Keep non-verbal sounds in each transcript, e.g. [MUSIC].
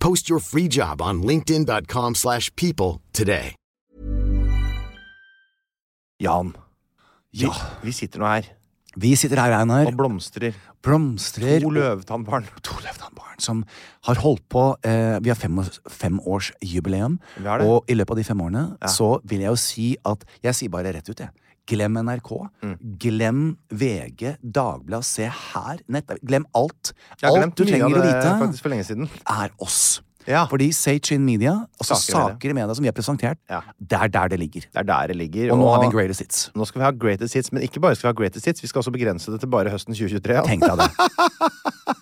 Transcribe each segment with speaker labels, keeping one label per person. Speaker 1: Post your free job on linkedin.com slash people today.
Speaker 2: Jan, vi,
Speaker 3: Ja.
Speaker 2: vi sitter nå her
Speaker 3: Vi sitter her, Einar,
Speaker 2: og blomstrer.
Speaker 3: blomstrer
Speaker 2: To løvtannbarn.
Speaker 3: to løvdannbarn som har holdt på eh, Vi har fem, femårsjubileum,
Speaker 2: Vi har det.
Speaker 3: og i løpet av de fem årene så vil jeg jo si at Jeg sier bare rett ut, jeg. Glem NRK.
Speaker 2: Mm.
Speaker 3: Glem VG, Dagbladet, se her, nett, Glem alt.
Speaker 2: Jeg har
Speaker 3: alt
Speaker 2: glemt
Speaker 3: du
Speaker 2: mye
Speaker 3: trenger
Speaker 2: av
Speaker 3: å
Speaker 2: det
Speaker 3: vite,
Speaker 2: faktisk for lenge siden.
Speaker 3: er oss.
Speaker 2: Ja.
Speaker 3: Fordi Sage in Media, altså
Speaker 2: Saker i media.
Speaker 3: saker i media som vi har presentert,
Speaker 2: Ja.
Speaker 3: det er der det ligger.
Speaker 2: Det er der det ligger.
Speaker 3: Og nå har vi en greatest hits.
Speaker 2: nå skal vi ha greatest hits, men ikke bare skal vi ha greatest hits, vi skal også begrense det til bare høsten 2023. Jan.
Speaker 3: Tenk deg
Speaker 2: [LAUGHS]
Speaker 3: det.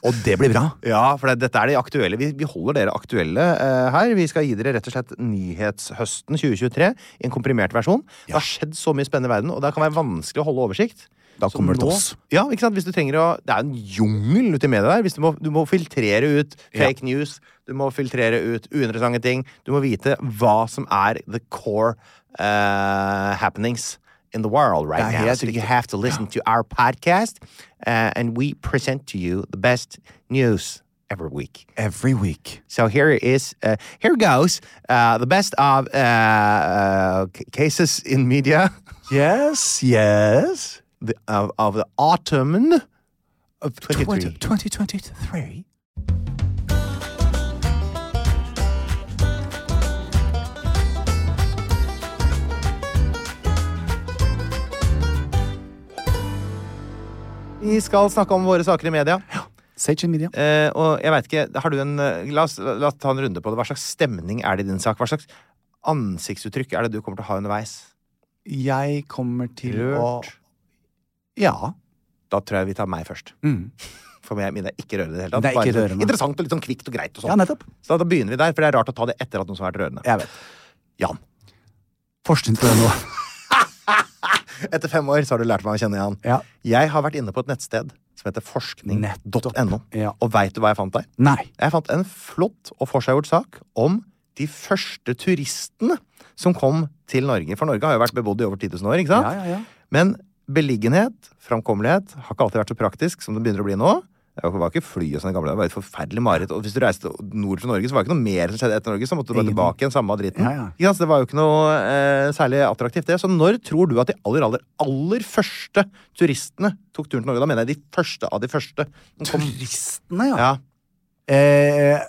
Speaker 3: Og det blir bra.
Speaker 2: Ja, for det, dette er de aktuelle. Vi, vi holder dere aktuelle eh, her. Vi skal gi dere rett og slett nyhetshøsten 2023 i en komprimert versjon. Det har skjedd så mye spennende i verden, og det kan være vanskelig å holde oversikt.
Speaker 3: Da
Speaker 2: Så
Speaker 3: kommer det til
Speaker 2: nå-
Speaker 3: oss.
Speaker 2: Ja, ikke sant? Hvis du trenger å, det er en jungel ute i media der. Hvis du, må, du må filtrere ut fake news, du må filtrere ut uinteressante ting. Du må vite hva som er the core eh, happenings in the world right
Speaker 3: Det er
Speaker 2: now.
Speaker 3: helt
Speaker 2: So you
Speaker 3: riktig.
Speaker 2: have to listen to our podcast, eh, and we present to you the best news every week.
Speaker 3: Every week.
Speaker 2: So here is uh, here goes uh, the best of uh, uh, c- cases in media [LAUGHS]
Speaker 3: Yes, yes.
Speaker 2: the, of, of the autumn of 23.
Speaker 3: 2023.
Speaker 2: Vi skal snakke om våre saker i media.
Speaker 3: Sage Media.
Speaker 2: Eh, og jeg vet ikke, har du en eh, la oss, la oss ta en runde på det. Hva slags stemning er det i din sak? Hva slags ansiktsuttrykk er det du kommer til å ha underveis?
Speaker 3: Jeg kommer til
Speaker 2: Rørt.
Speaker 3: å Ja.
Speaker 2: Da tror jeg vi tar meg først.
Speaker 3: Mm.
Speaker 2: [LAUGHS] For meg- mine er ikke rørende i det hele
Speaker 3: Det
Speaker 2: tatt.
Speaker 3: er ikke
Speaker 2: Bare sånn
Speaker 3: rørende.
Speaker 2: Interessant og litt sånn kvikt og greit og sånn.
Speaker 3: Ja, nettopp.
Speaker 2: Så da begynner vi der, for det er rart å ta det etter at noen som har vært rørende.
Speaker 3: Jeg vet.
Speaker 2: Jan.
Speaker 3: Forskning på det nå. [LAUGHS]
Speaker 2: Etter fem år så har du lært meg å kjenne Jan.
Speaker 3: Ja.
Speaker 2: Jeg har vært inne på et nettsted som heter forskning.no.
Speaker 3: Nettopp, ja.
Speaker 2: Og veit du hva jeg fant der?
Speaker 3: Nei.
Speaker 2: Jeg fant en flott og forseggjort sak om de første turistene som kom til Norge. For Norge har jo vært bebodd i over 10 000 år, ikke sant?
Speaker 3: Ja, ja, ja.
Speaker 2: Men beliggenhet, framkommelighet, har ikke alltid vært så praktisk som det begynner å bli nå. Det var ikke fly og sånne gamle, det var et forferdelig mareritt. Og hvis du reiste nord for Norge, så var det ikke noe mer som skjedde etter Norge, så måtte du bare
Speaker 3: Ingenting.
Speaker 2: tilbake igjen, samme dritten.
Speaker 3: Ja, ja.
Speaker 2: Ikke sant? Så det var jo ikke noe eh, særlig attraktivt, det. Så når tror du at de aller, aller, aller første turistene tok turen til Norge? Da mener jeg de første av de første. som kom-
Speaker 3: Turistene, ja.
Speaker 2: Ja,
Speaker 3: Eh,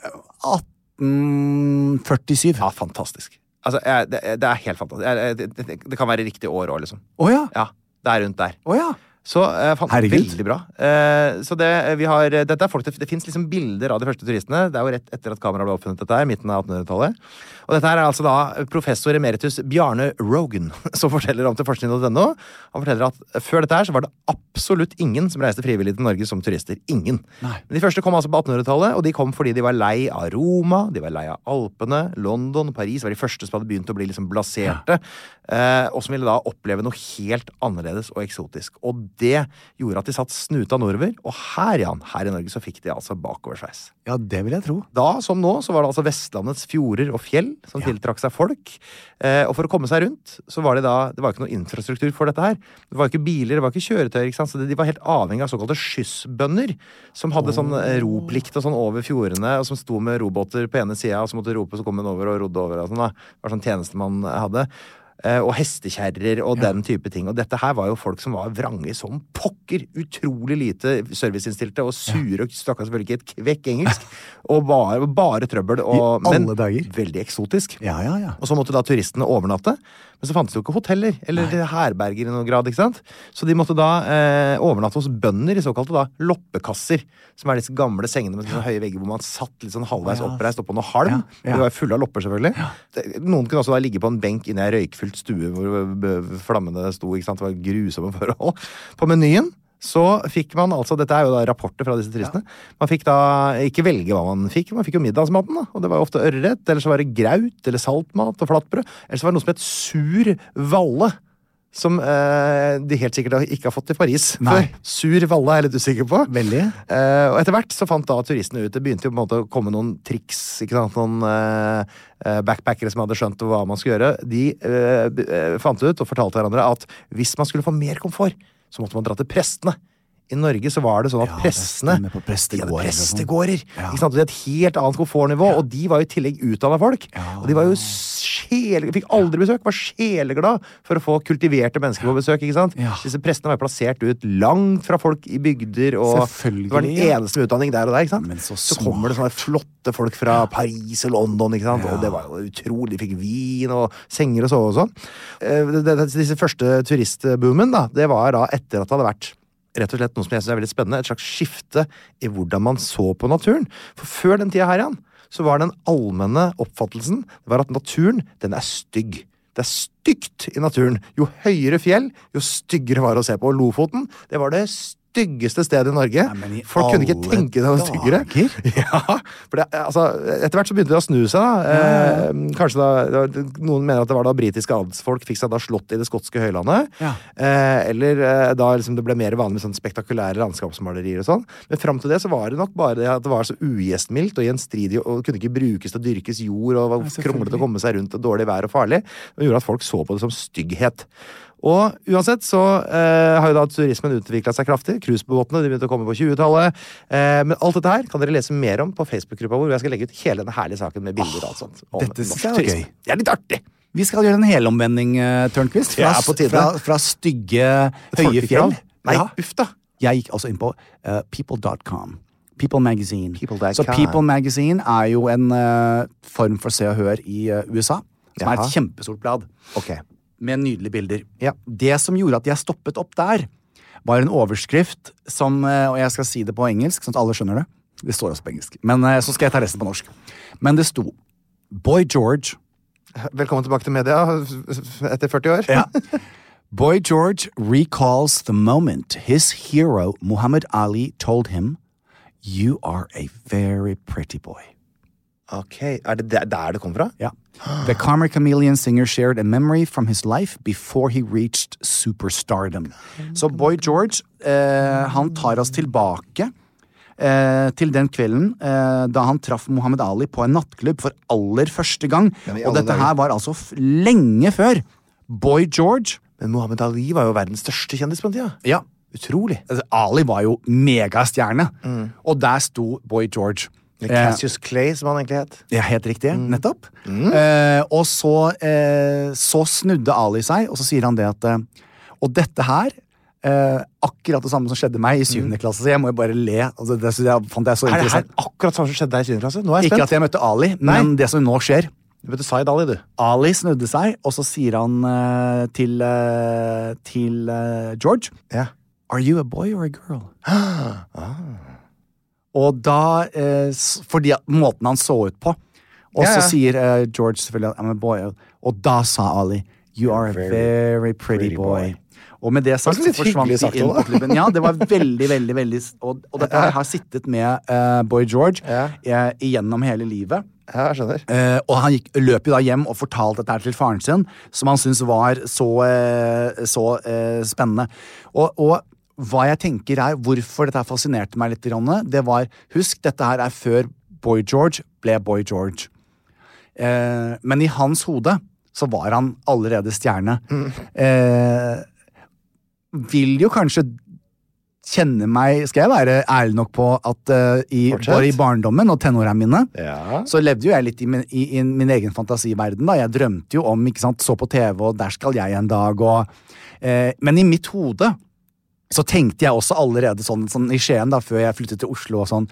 Speaker 3: 1847. Å
Speaker 2: ja fantastisk. Altså, jeg, det, det er helt fantastisk. Jeg, det, det, det kan være riktig år òg, liksom.
Speaker 3: ja.
Speaker 2: Ja, det er rundt der.
Speaker 3: Å ja.
Speaker 2: Så eh, fant
Speaker 3: Herregud.
Speaker 2: Veldig bra. Eh, så det, eh, vi har, eh, dette er folk, det, det fins liksom bilder av de første turistene. Det er jo rett etter at kameraet ble oppfunnet, dette her, midten av 1800-tallet. Og dette her er altså da professor emeritus Bjarne Rogan [LAUGHS] som forteller om til forskning.no. Han forteller at før dette her så var det absolutt ingen som reiste frivillig til Norge som turister. Ingen.
Speaker 3: Nei.
Speaker 2: Men de første kom altså på 1800-tallet, og de kom fordi de var lei av Roma, de var lei av Alpene, London, Paris var de første som hadde begynt å bli liksom blaserte, eh, og som ville da oppleve noe helt annerledes og eksotisk. Og det gjorde at de satt snuta nordover, og her, Jan, her i Norge så fikk de altså bakoversveis.
Speaker 3: Ja, det vil jeg tro.
Speaker 2: Da som nå så var det altså Vestlandets fjorder og fjell som tiltrakk seg folk. Eh, og for å komme seg rundt, så var det da Det var jo ikke noe infrastruktur for dette her. Det var jo ikke biler, det var ikke kjøretøyer, ikke sant. Så de- de var helt avhengig av såkalte skyssbønder. Som hadde sånn eh, roplikt og sånn over fjordene, og som sto med robåter på ene sida, og så måtte du rope, så kom hun over og rodde over og sånn, da. Det var sånn tjenestemann hadde. Eh, Og hestekjerrer og den type ting. Og dette her var jo folk som var vrange som pokker. Utrolig lite serviceinnstilte og sure og snakka selvfølgelig ikke et kvekk engelsk. [LAUGHS] Og bare, bare trøbbel. Og,
Speaker 3: alle
Speaker 2: men
Speaker 3: dager.
Speaker 2: veldig eksotisk.
Speaker 3: Ja, ja, ja.
Speaker 2: Og så måtte da turistene overnatte. Men så fantes det jo ikke hoteller eller herberger i noen grad. ikke sant? Så de måtte da eh, overnatte hos bønder i såkalte da loppekasser. Som er disse gamle sengene med sånne høye vegger hvor man satt litt sånn halvveis
Speaker 3: Ja.
Speaker 2: oppreist oppå noe halm.
Speaker 3: Ja, ja.
Speaker 2: De var jo fulle av lopper, selvfølgelig. Det- Noen kunne også da ligge på en benk inne i ei røykfylt stue hvor b- b- flammene sto. ikke sant? Det var grusomme [LAUGHS] forhold. På menyen så fikk man altså, Dette er jo da rapporter fra disse turistene. Man fikk da ikke velge hva man fikk, man fikk jo middagsmaten. da, Og det var jo ofte ørret, eller så var det graut eller saltmat og flatbrød. Eller så var det noe som het sur valle. Som eh, de helt sikkert da ikke har fått i Paris.
Speaker 3: Nei.
Speaker 2: før. Sur valle er jeg litt usikker på.
Speaker 3: Veldig.
Speaker 2: Eh, og etter hvert så fant da turistene ut Det begynte jo på en måte å komme noen triks. Ikke sant? Noen eh, eh, backpackere som hadde skjønt hva man skulle gjøre. De eh, b- eh, fant ut og fortalte hverandre at hvis man skulle få mer komfort, så måtte man dra til prestene. I Norge så var det sånn at
Speaker 3: Ja, det
Speaker 2: prestene
Speaker 3: stemmer, på prestegårder
Speaker 2: de hadde
Speaker 3: og sånn.
Speaker 2: prestegårder.
Speaker 3: Ja.
Speaker 2: Ikke sant? Og De hadde et helt annet komfortnivå, og de var jo i tillegg utdanna folk. Og de var jo sjele... Fikk aldri besøk, var sjeleglad for å få kultiverte mennesker på besøk. ikke sant?
Speaker 3: Ja.
Speaker 2: Disse prestene var jo plassert ut langt fra folk i bygder og og
Speaker 3: Selvfølgelig,
Speaker 2: Det var den
Speaker 3: ja.
Speaker 2: eneste med utdanning der og der. ikke sant?
Speaker 3: Men så
Speaker 2: kommer det sånne flotte folk fra Paris og London, ikke sant? og det var jo utrolig. De fikk vin og senger og sove og sånn. Eh, det- det- Disse første turistboomen, da, det var da etter at det hadde vært Rett og slett noe som jeg synes er veldig spennende, Et slags skifte i hvordan man så på naturen. For før den tida her igjen, så var den allmenne oppfattelsen det var at naturen den er stygg. Det er stygt i naturen. Jo høyere fjell, jo styggere var det å se på. Og Lofoten det var det styggeste stedet i Norge.
Speaker 3: Nei, men i
Speaker 2: Folk kunne ikke
Speaker 3: alle
Speaker 2: tenke seg noe styggere. [LAUGHS]
Speaker 3: dager.
Speaker 2: Ja, for det, altså, etter hvert så begynte det å snu seg. da. Eh, kanskje da, det var- Noen mener at det var da britiske adelsfolk fikk seg da slått i det skotske høylandet.
Speaker 3: Ja.
Speaker 2: Eh, eller eh, da liksom det ble mer vanlig med sånn spektakulære landskapsmalerier og sånn. Men fram til det så var det nok bare det at det var så ugjestmildt og gjenstridig og kunne ikke brukes til å dyrkes jord og var kronglete å komme seg rundt og dårlig vær og farlig. Det gjorde at folk så på det som stygghet. Og uansett så eh, har jo da turismen utvikla seg kraftig. Cruisebåtene de begynte å komme på 20-tallet. Eh, men alt dette her kan dere lese mer om på Facebook-gruppa vår. hvor Jeg skal legge ut hele denne herlige saken med bilder og alt sånt. om
Speaker 3: dette synes
Speaker 2: norsk
Speaker 3: jeg var
Speaker 2: turisme.
Speaker 3: gøy.
Speaker 2: Det er litt artig!
Speaker 3: Vi skal gjøre en helomvending, uh, Tørnquist. Fra,
Speaker 2: Ja, på tide.
Speaker 3: fra, fra stygge, høye
Speaker 2: Folkekrav.
Speaker 3: fjell.
Speaker 2: Nei,
Speaker 3: Ja.
Speaker 2: uff da.
Speaker 3: Jeg gikk også inn på eh, people.com. People Magazine.
Speaker 2: People.com.
Speaker 3: Så People Magazine er jo en eh, form for Se og Hør i eh, USA. Som er
Speaker 2: Jaha.
Speaker 3: et kjempestort blad
Speaker 2: Ok.
Speaker 3: med nydelige bilder.
Speaker 2: Ja.
Speaker 3: Det som gjorde at jeg stoppet opp der, var en overskrift som eh, Og jeg skal si det på engelsk, sånn at alle skjønner det. Det står også på engelsk. Men eh, så skal jeg ta resten på norsk. Men det sto Boy George
Speaker 2: Velkommen tilbake til media etter 40 år. [LAUGHS]
Speaker 3: Ja. Boy George recalls the moment his hero, Muhammad Ali, told him, You are a very pretty boy.
Speaker 2: Ok, Er det der, der det kom fra? [GASPS]
Speaker 3: Yeah. The Karma Chameleon singer shared a memory from his life before he reached superstardom. Så Boy George, eh, han tar oss tilbake eh, til den kvelden eh, da han traff Muhammad Ali på en nattklubb for aller første gang.
Speaker 2: Ja, men i
Speaker 3: Og
Speaker 2: alle
Speaker 3: dette
Speaker 2: dager.
Speaker 3: her var altså f lenge før Boy George
Speaker 2: Men Mohammed Ali var jo verdens største kjendis på den tida.
Speaker 3: Ja.
Speaker 2: Utrolig.
Speaker 3: Altså, Ali var jo megastjerne, og der sto Boy George.
Speaker 2: Mm.
Speaker 3: Eh,
Speaker 2: Cassius Mm. Clay, som han egentlig het.
Speaker 3: Ja, helt riktig. Nettopp. Eh, og så, eh, så snudde Ali seg, og så sier han det at eh, Og dette her eh, Akkurat det samme som skjedde meg i syvende klasse, så jeg må jo bare le. Altså, det, synes jeg, fant jeg så
Speaker 2: Mm. Er det her
Speaker 3: interessant.
Speaker 2: akkurat samme som skjedde deg i 7. klasse? Nå er jeg
Speaker 3: Ikke
Speaker 2: spent.
Speaker 3: at jeg møtte Ali, men
Speaker 2: Nei.
Speaker 3: det som nå skjer.
Speaker 2: Du møtte Zaid Ali, du.
Speaker 3: Ali snudde seg, og så sier han eh, til, eh, til eh, George
Speaker 2: Ja.
Speaker 3: Are you a boy or a girl? Og da eh, s- Fordi at måten han så ut på. Og
Speaker 2: Ja,
Speaker 3: så
Speaker 2: ja.
Speaker 3: sier eh, George selvfølgelig at I'm a boy. Og da sa Ali You are a very pretty,
Speaker 2: pretty
Speaker 3: boy. Og med det sagt
Speaker 2: Det var litt
Speaker 3: så forsvant
Speaker 2: hyggelig
Speaker 3: de
Speaker 2: sagt,
Speaker 3: inn på
Speaker 2: da.
Speaker 3: klubben. Ja, det var veldig, veldig, veldig s- Og, og dette her har sittet med eh, Boy George
Speaker 2: Ja.
Speaker 3: eh, igjennom hele livet.
Speaker 2: Ja, jeg skjønner.
Speaker 3: Eh, og han gikk, løp jo da hjem og fortalte dette her til faren sin, som han syntes var så, eh, så eh, spennende. Og, og hva jeg tenker er hvorfor dette her fascinerte meg litt, grann, det var Husk, dette her er før Boy George ble Boy George. Eh, men i hans hode så var han allerede stjerne. Eh, vil jo kanskje kjenne meg Skal jeg være ærlig nok på at eh, i,
Speaker 2: Fortsett.
Speaker 3: bare i barndommen og tenårene mine
Speaker 2: Ja.
Speaker 3: så levde jo jeg litt i min, i, i min egen fantasiverden. da. Jeg drømte jo om ikke sant, Så på TV, og der skal jeg en dag, og eh, Men i mitt hode så tenkte jeg også allerede sånn, sånn i Skien, da, før jeg flyttet til Oslo, og sånn,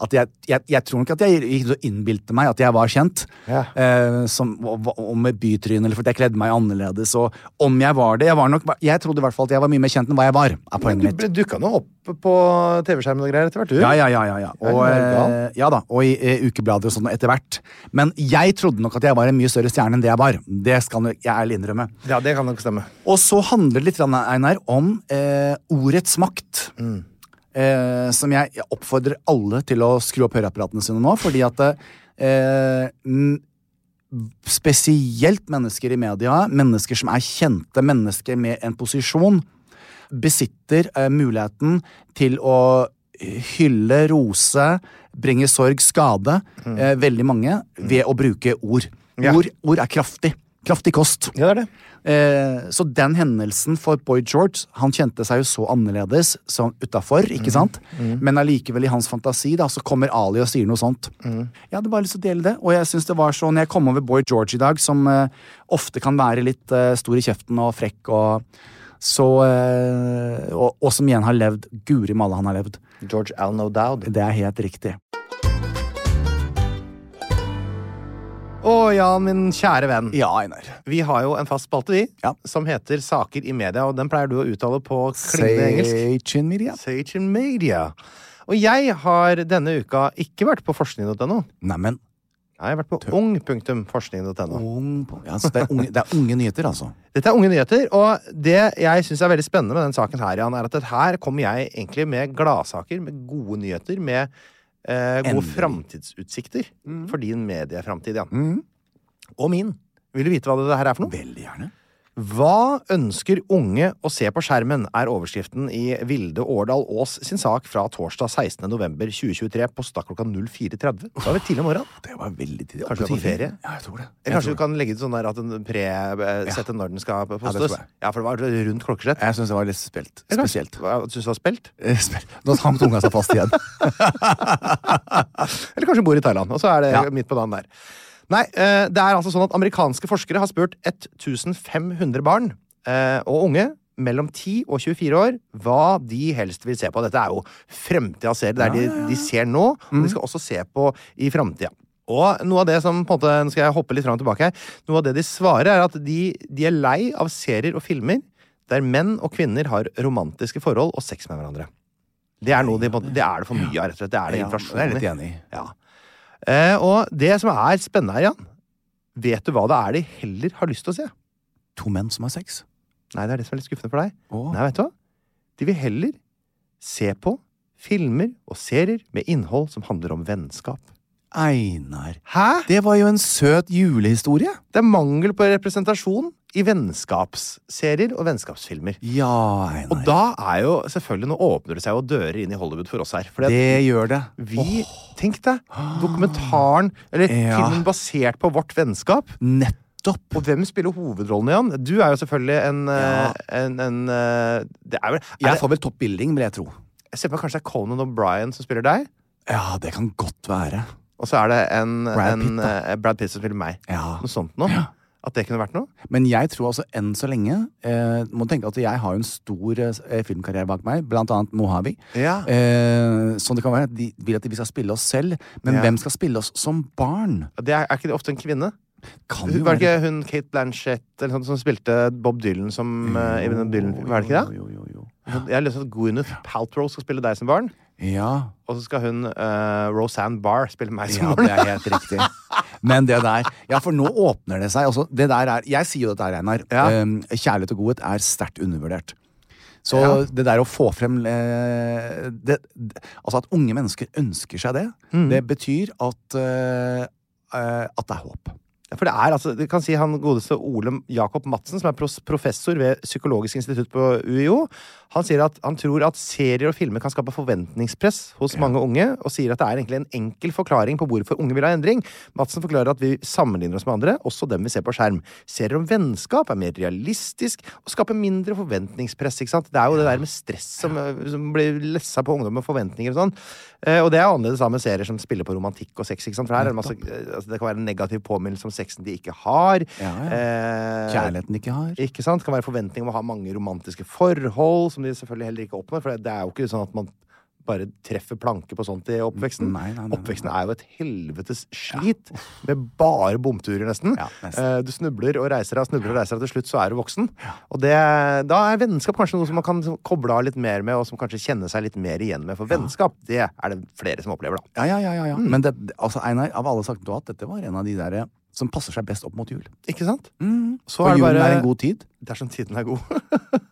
Speaker 3: at jeg, jeg, jeg tror nok at jeg gikk og innbilte meg at jeg var kjent.
Speaker 2: Ja.
Speaker 3: Eh, som, og, og med bytryne, eller fordi jeg kledde meg annerledes. Og om jeg var det Jeg, var nok, jeg trodde i hvert fall at jeg var mye mer kjent enn hva jeg var. er poenget
Speaker 2: Du
Speaker 3: mitt.
Speaker 2: ble dukka nå opp på TV-skjermen og greier etter hvert, du.
Speaker 3: Ja, ja, ja. ja, ja. Og,
Speaker 2: Ja, er du gal?
Speaker 3: eh, ja da, og i eh, ukeblader og sånn etter hvert. Men jeg trodde nok at jeg var en mye større stjerne enn det jeg var. Det skal jeg ærlig innrømme.
Speaker 2: Ja, det kan nok stemme.
Speaker 3: Og så handler det litt, grann, Einar, om eh, ordets makt. Eh, som jeg jeg oppfordrer alle til å skru opp høreapparatene sine nå, fordi at eh, n- Spesielt mennesker i media, mennesker som er kjente, mennesker med en posisjon, besitter eh, muligheten til å hylle, rose, bringe sorg, skade, eh, veldig mange, ved å bruke ord.
Speaker 2: Ja.
Speaker 3: Ord, ord er kraftig. Kraftig kost.
Speaker 2: Ja, det er det.
Speaker 3: Eh, så den hendelsen for Boy George Han kjente seg jo så annerledes som utafor, ikke sant? Men allikevel, i hans fantasi, da, så kommer Ali og sier noe sånt. Jeg hadde bare lyst til å dele det, og jeg synes det var så Når jeg kom over Boy George i dag, som eh, ofte kan være litt eh, stor i kjeften og frekk og så eh, og, og som igjen har levd Guri malla, han har levd.
Speaker 2: George Al No Dowd.
Speaker 3: Det er helt riktig.
Speaker 2: Å Jan, min kjære venn.
Speaker 3: Ja, Einar.
Speaker 2: Vi har jo en fast spalte, vi,
Speaker 3: Ja.
Speaker 2: som heter Saker i media, og den pleier du å uttale på klingende engelsk.
Speaker 3: Seichin Miria.
Speaker 2: Sage Media. Og jeg har denne uka ikke vært på forskning.no.
Speaker 3: Neimen,
Speaker 2: Jeg har vært på ung.forskning.no.
Speaker 3: ung på- ja, så det, er unge- det er unge nyheter, altså.
Speaker 2: Dette er Unge nyheter, og det jeg syns er veldig spennende med den saken her, Jan, er at her kommer jeg egentlig med gladsaker, med gode nyheter, med eh, gode
Speaker 3: Endelig.
Speaker 2: framtidsutsikter for din medieframtid, Jan. Og min. Vil du vite hva det her er for noe?
Speaker 3: Veldig gjerne.
Speaker 2: Hva ønsker unge å se på skjermen, er overskriften i Vilde Årdal Aas sin sak fra torsdag 16. november 2023 på start klokka 04.30. Da er vi tidlig om morgenen.
Speaker 3: Det var veldig tidlig.
Speaker 2: Kanskje du
Speaker 3: Oppe
Speaker 2: er på
Speaker 3: tidlig.
Speaker 2: ferie?
Speaker 3: Ja, jeg tror det. Jeg,
Speaker 2: Kanskje
Speaker 3: tror
Speaker 2: du kan legge ut sånn der at den pre eh, sette når den skal
Speaker 3: det
Speaker 2: postes?
Speaker 3: tror
Speaker 2: Ja,
Speaker 3: jeg.
Speaker 2: for det var rundt klokkeslett.
Speaker 3: det. jeg syns det var litt spelt. spesielt.
Speaker 2: Hva Syns du det var spilt?
Speaker 3: Eh, [LAUGHS] spel- Nå hang tunga seg fast [LAUGHS] igjen.
Speaker 2: Eller kanskje hun bor i Thailand, og så er det
Speaker 3: Ja.
Speaker 2: midt på dagen der. Nei, eh, det er altså sånn at amerikanske forskere har spurt 1500 barn eh, og unge mellom 10 og 24 år hva de helst vil se på. Dette er jo fremtidas serie. Det er de, de ser nå, og de skal også se på i framtida. Og noe av det som på en måte, nå skal jeg hoppe litt fram og tilbake her, noe av det de svarer, er at de, de er lei av serier og filmer der menn og kvinner har romantiske forhold og sex med hverandre. Det er, noe de, på en måte- det, er det for mye av, rett og slett. Det er det
Speaker 3: Ja,
Speaker 2: inflasjon
Speaker 3: det er jeg
Speaker 2: i.
Speaker 3: litt enig i.
Speaker 2: Ja. Eh, og det som er spennende her, Jan Vet du hva det er de heller har lyst til å se?
Speaker 3: To menn som har sex.
Speaker 2: Nei, det er det som er litt skuffende for deg.
Speaker 3: Å.
Speaker 2: Nei, vet du hva? De vil heller se på filmer og serier med innhold som handler om vennskap.
Speaker 3: Einar.
Speaker 2: Hæ?
Speaker 3: Det var jo en søt julehistorie.
Speaker 2: Det er mangel på representasjon i vennskapsserier og vennskapsfilmer.
Speaker 3: Ja, Einar.
Speaker 2: Og da er jo selvfølgelig Nå åpner det seg jo dører inn i Hollywood for oss her. Fordi at
Speaker 3: det gjør det.
Speaker 2: vi, Tenk deg! Dokumentaren, eller
Speaker 3: [GASPS] Ja.
Speaker 2: filmen basert på vårt vennskap.
Speaker 3: Nettopp.
Speaker 2: Og hvem spiller hovedrollen, Jan? Du er jo selvfølgelig en, eh, en, en eh, Det er vel er
Speaker 3: Jeg
Speaker 2: det,
Speaker 3: får vel topp billing, vil jeg tro.
Speaker 2: Jeg ser for meg kanskje det er Conan O'Brien som spiller deg.
Speaker 3: Ja, det kan godt være.
Speaker 2: Og så er det en
Speaker 3: Brad
Speaker 2: en,
Speaker 3: Pitt, da.
Speaker 2: eh, Brad Pitt som spiller meg.
Speaker 3: Ja.
Speaker 2: Noe sånt noe. At det kunne vært noe.
Speaker 3: Men jeg tror altså enn så lenge eh, Må tenke at jeg har jo en stor eh, filmkarriere bak meg, blant annet Mohavi.
Speaker 2: Ja.
Speaker 3: Eh, sånn det kan være. De vil at vi skal spille oss selv, men
Speaker 2: Ja.
Speaker 3: hvem skal spille oss som barn?
Speaker 2: Det er, er ikke det ofte en kvinne?
Speaker 3: Kan
Speaker 2: Hun, var det ikke hun Kate Blanchett eller sånt, som spilte Bob Dylan som eh, i den Dylan, Var det ikke det?
Speaker 3: Jo, jo, jo, jo.
Speaker 2: Jeg har lyst til at Gwyneth Paltrow skal spille deg som barn,
Speaker 3: Ja.
Speaker 2: og så skal hun eh, Roseanne Barr spille meg som
Speaker 3: ja,
Speaker 2: barn.
Speaker 3: det er helt riktig. Men det der Ja, for nå åpner det seg. Altså, det der er, jeg sier jo dette, her, Einar.
Speaker 2: Ja.
Speaker 3: Ehm, kjærlighet og godhet er sterkt undervurdert. Så
Speaker 2: Ja.
Speaker 3: det der å få frem eh, det, d- Altså at unge mennesker ønsker seg det,
Speaker 2: Mm.
Speaker 3: det betyr at eh, eh, At det er håp.
Speaker 2: For det er altså, du kan si han godeste Ole Jakob Madsen, som er pros- professor ved Psykologisk institutt på UiO, Han sier at han tror at serier og filmer kan skape forventningspress hos mange unge, og sier at det er egentlig en enkel forklaring på hvorfor unge vil ha endring. Madsen forklarer at vi sammenligner oss med andre, også dem vi ser på skjerm. Serier om vennskap er mer realistisk og skaper mindre forventningspress, ikke sant. Det er jo det der med stress som, eh, som blir lessa på ungdom med forventninger og sånn. Eh, og det er jo annerledes da med serier som spiller på romantikk og sex, ikke sant. For her er det masse eh, altså, Det kan være en negativ påminnelse om sexen de ikke har.
Speaker 3: Ja, ja.
Speaker 2: Eh,
Speaker 3: Kjærligheten de ikke har.
Speaker 2: ikke sant? Kan være forventning om å ha mange romantiske forhold, som de selvfølgelig heller ikke oppnår. For det er jo ikke sånn at man bare treffer planke på sånt i oppveksten.
Speaker 3: Nei, nei, nei, nei.
Speaker 2: oppveksten er jo et helvetes slit, med bare bomturer, nesten.
Speaker 3: Ja, nesten.
Speaker 2: Eh, Du snubler og reiser deg, snubler og reiser deg, til slutt så er du voksen. Og det, da er vennskap kanskje noe som man kan koble av litt mer med, og som kanskje kjenne seg litt mer igjen med. For vennskap, det er det flere som opplever, da.
Speaker 3: Ja, ja, ja, ja,
Speaker 2: Mm.
Speaker 3: ja. Men det, altså, Einar, av alle sagt du at dette var en av de der eh, som passer seg best opp mot jul. Mm.
Speaker 2: Ikke sant? Så
Speaker 3: For
Speaker 2: er det
Speaker 3: julen
Speaker 2: bare
Speaker 3: er en god tid.
Speaker 2: dersom tiden er god. [LAUGHS]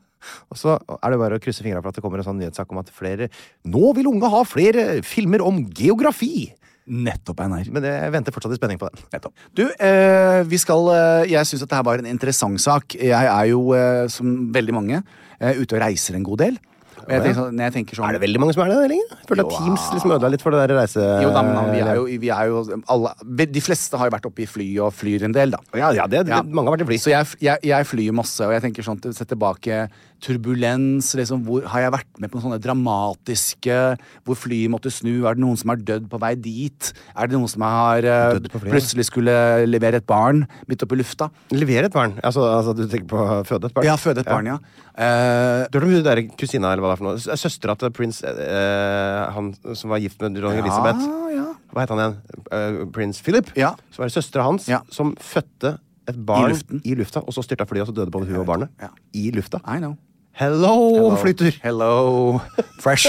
Speaker 2: Og så er det bare å krysse fingra for at det kommer en sånn nyhetssak om at flere Nå vil unge ha flere filmer om geografi!
Speaker 3: Nettopp, Einar.
Speaker 2: Men jeg venter fortsatt i spenning på den.
Speaker 3: Nettopp. Du, eh, vi skal eh, Jeg syns dette her var en interessant sak. Jeg er jo, eh, som veldig mange, eh, ute og reiser en god del. Og jeg tenker, sånn- når jeg tenker sånn
Speaker 2: Er det veldig mange som er det lenger? Jeg føler at
Speaker 3: Jo,
Speaker 2: Teams liksom ødela litt for det der reise...
Speaker 3: Jo da, men han- vi er jo, eh, vi er jo alle, De fleste har jo vært oppe i fly og flyr en del, da.
Speaker 2: Ja, ja, det, det,
Speaker 3: Ja.
Speaker 2: mange har vært i fly.
Speaker 3: Så jeg, jeg, jeg flyr masse, og jeg tenker sånn til- sett tilbake Turbulens, liksom, hvor har jeg vært med på sånne dramatiske Hvor flyet måtte snu, er det noen som har dødd på vei dit? Er det noen som har eh,
Speaker 2: Dødd på flyet?
Speaker 3: plutselig skulle levere et barn midt oppi lufta?
Speaker 2: Levere et barn. Altså, altså, du tenker på å føde et barn?
Speaker 3: Ja, føde et barn, ja. Eh,
Speaker 2: Du hørte om hun der kusina, eller hva det er for noe? S- Søstera til prins eh, Han som var gift med dronning Elisabeth.
Speaker 3: ah, ja.
Speaker 2: Hva het han igjen? Eh, prins Philip?
Speaker 3: Ja.
Speaker 2: Så var det søstera hans
Speaker 3: Ja.
Speaker 2: som fødte et barn
Speaker 3: I
Speaker 2: i,
Speaker 3: luften.
Speaker 2: lufta, og så styrta flyet, og så døde både hun og barnet.
Speaker 3: Ja.
Speaker 2: I lufta.
Speaker 3: I know.
Speaker 2: Hello, flytur!
Speaker 3: Hello, [LAUGHS] fresh.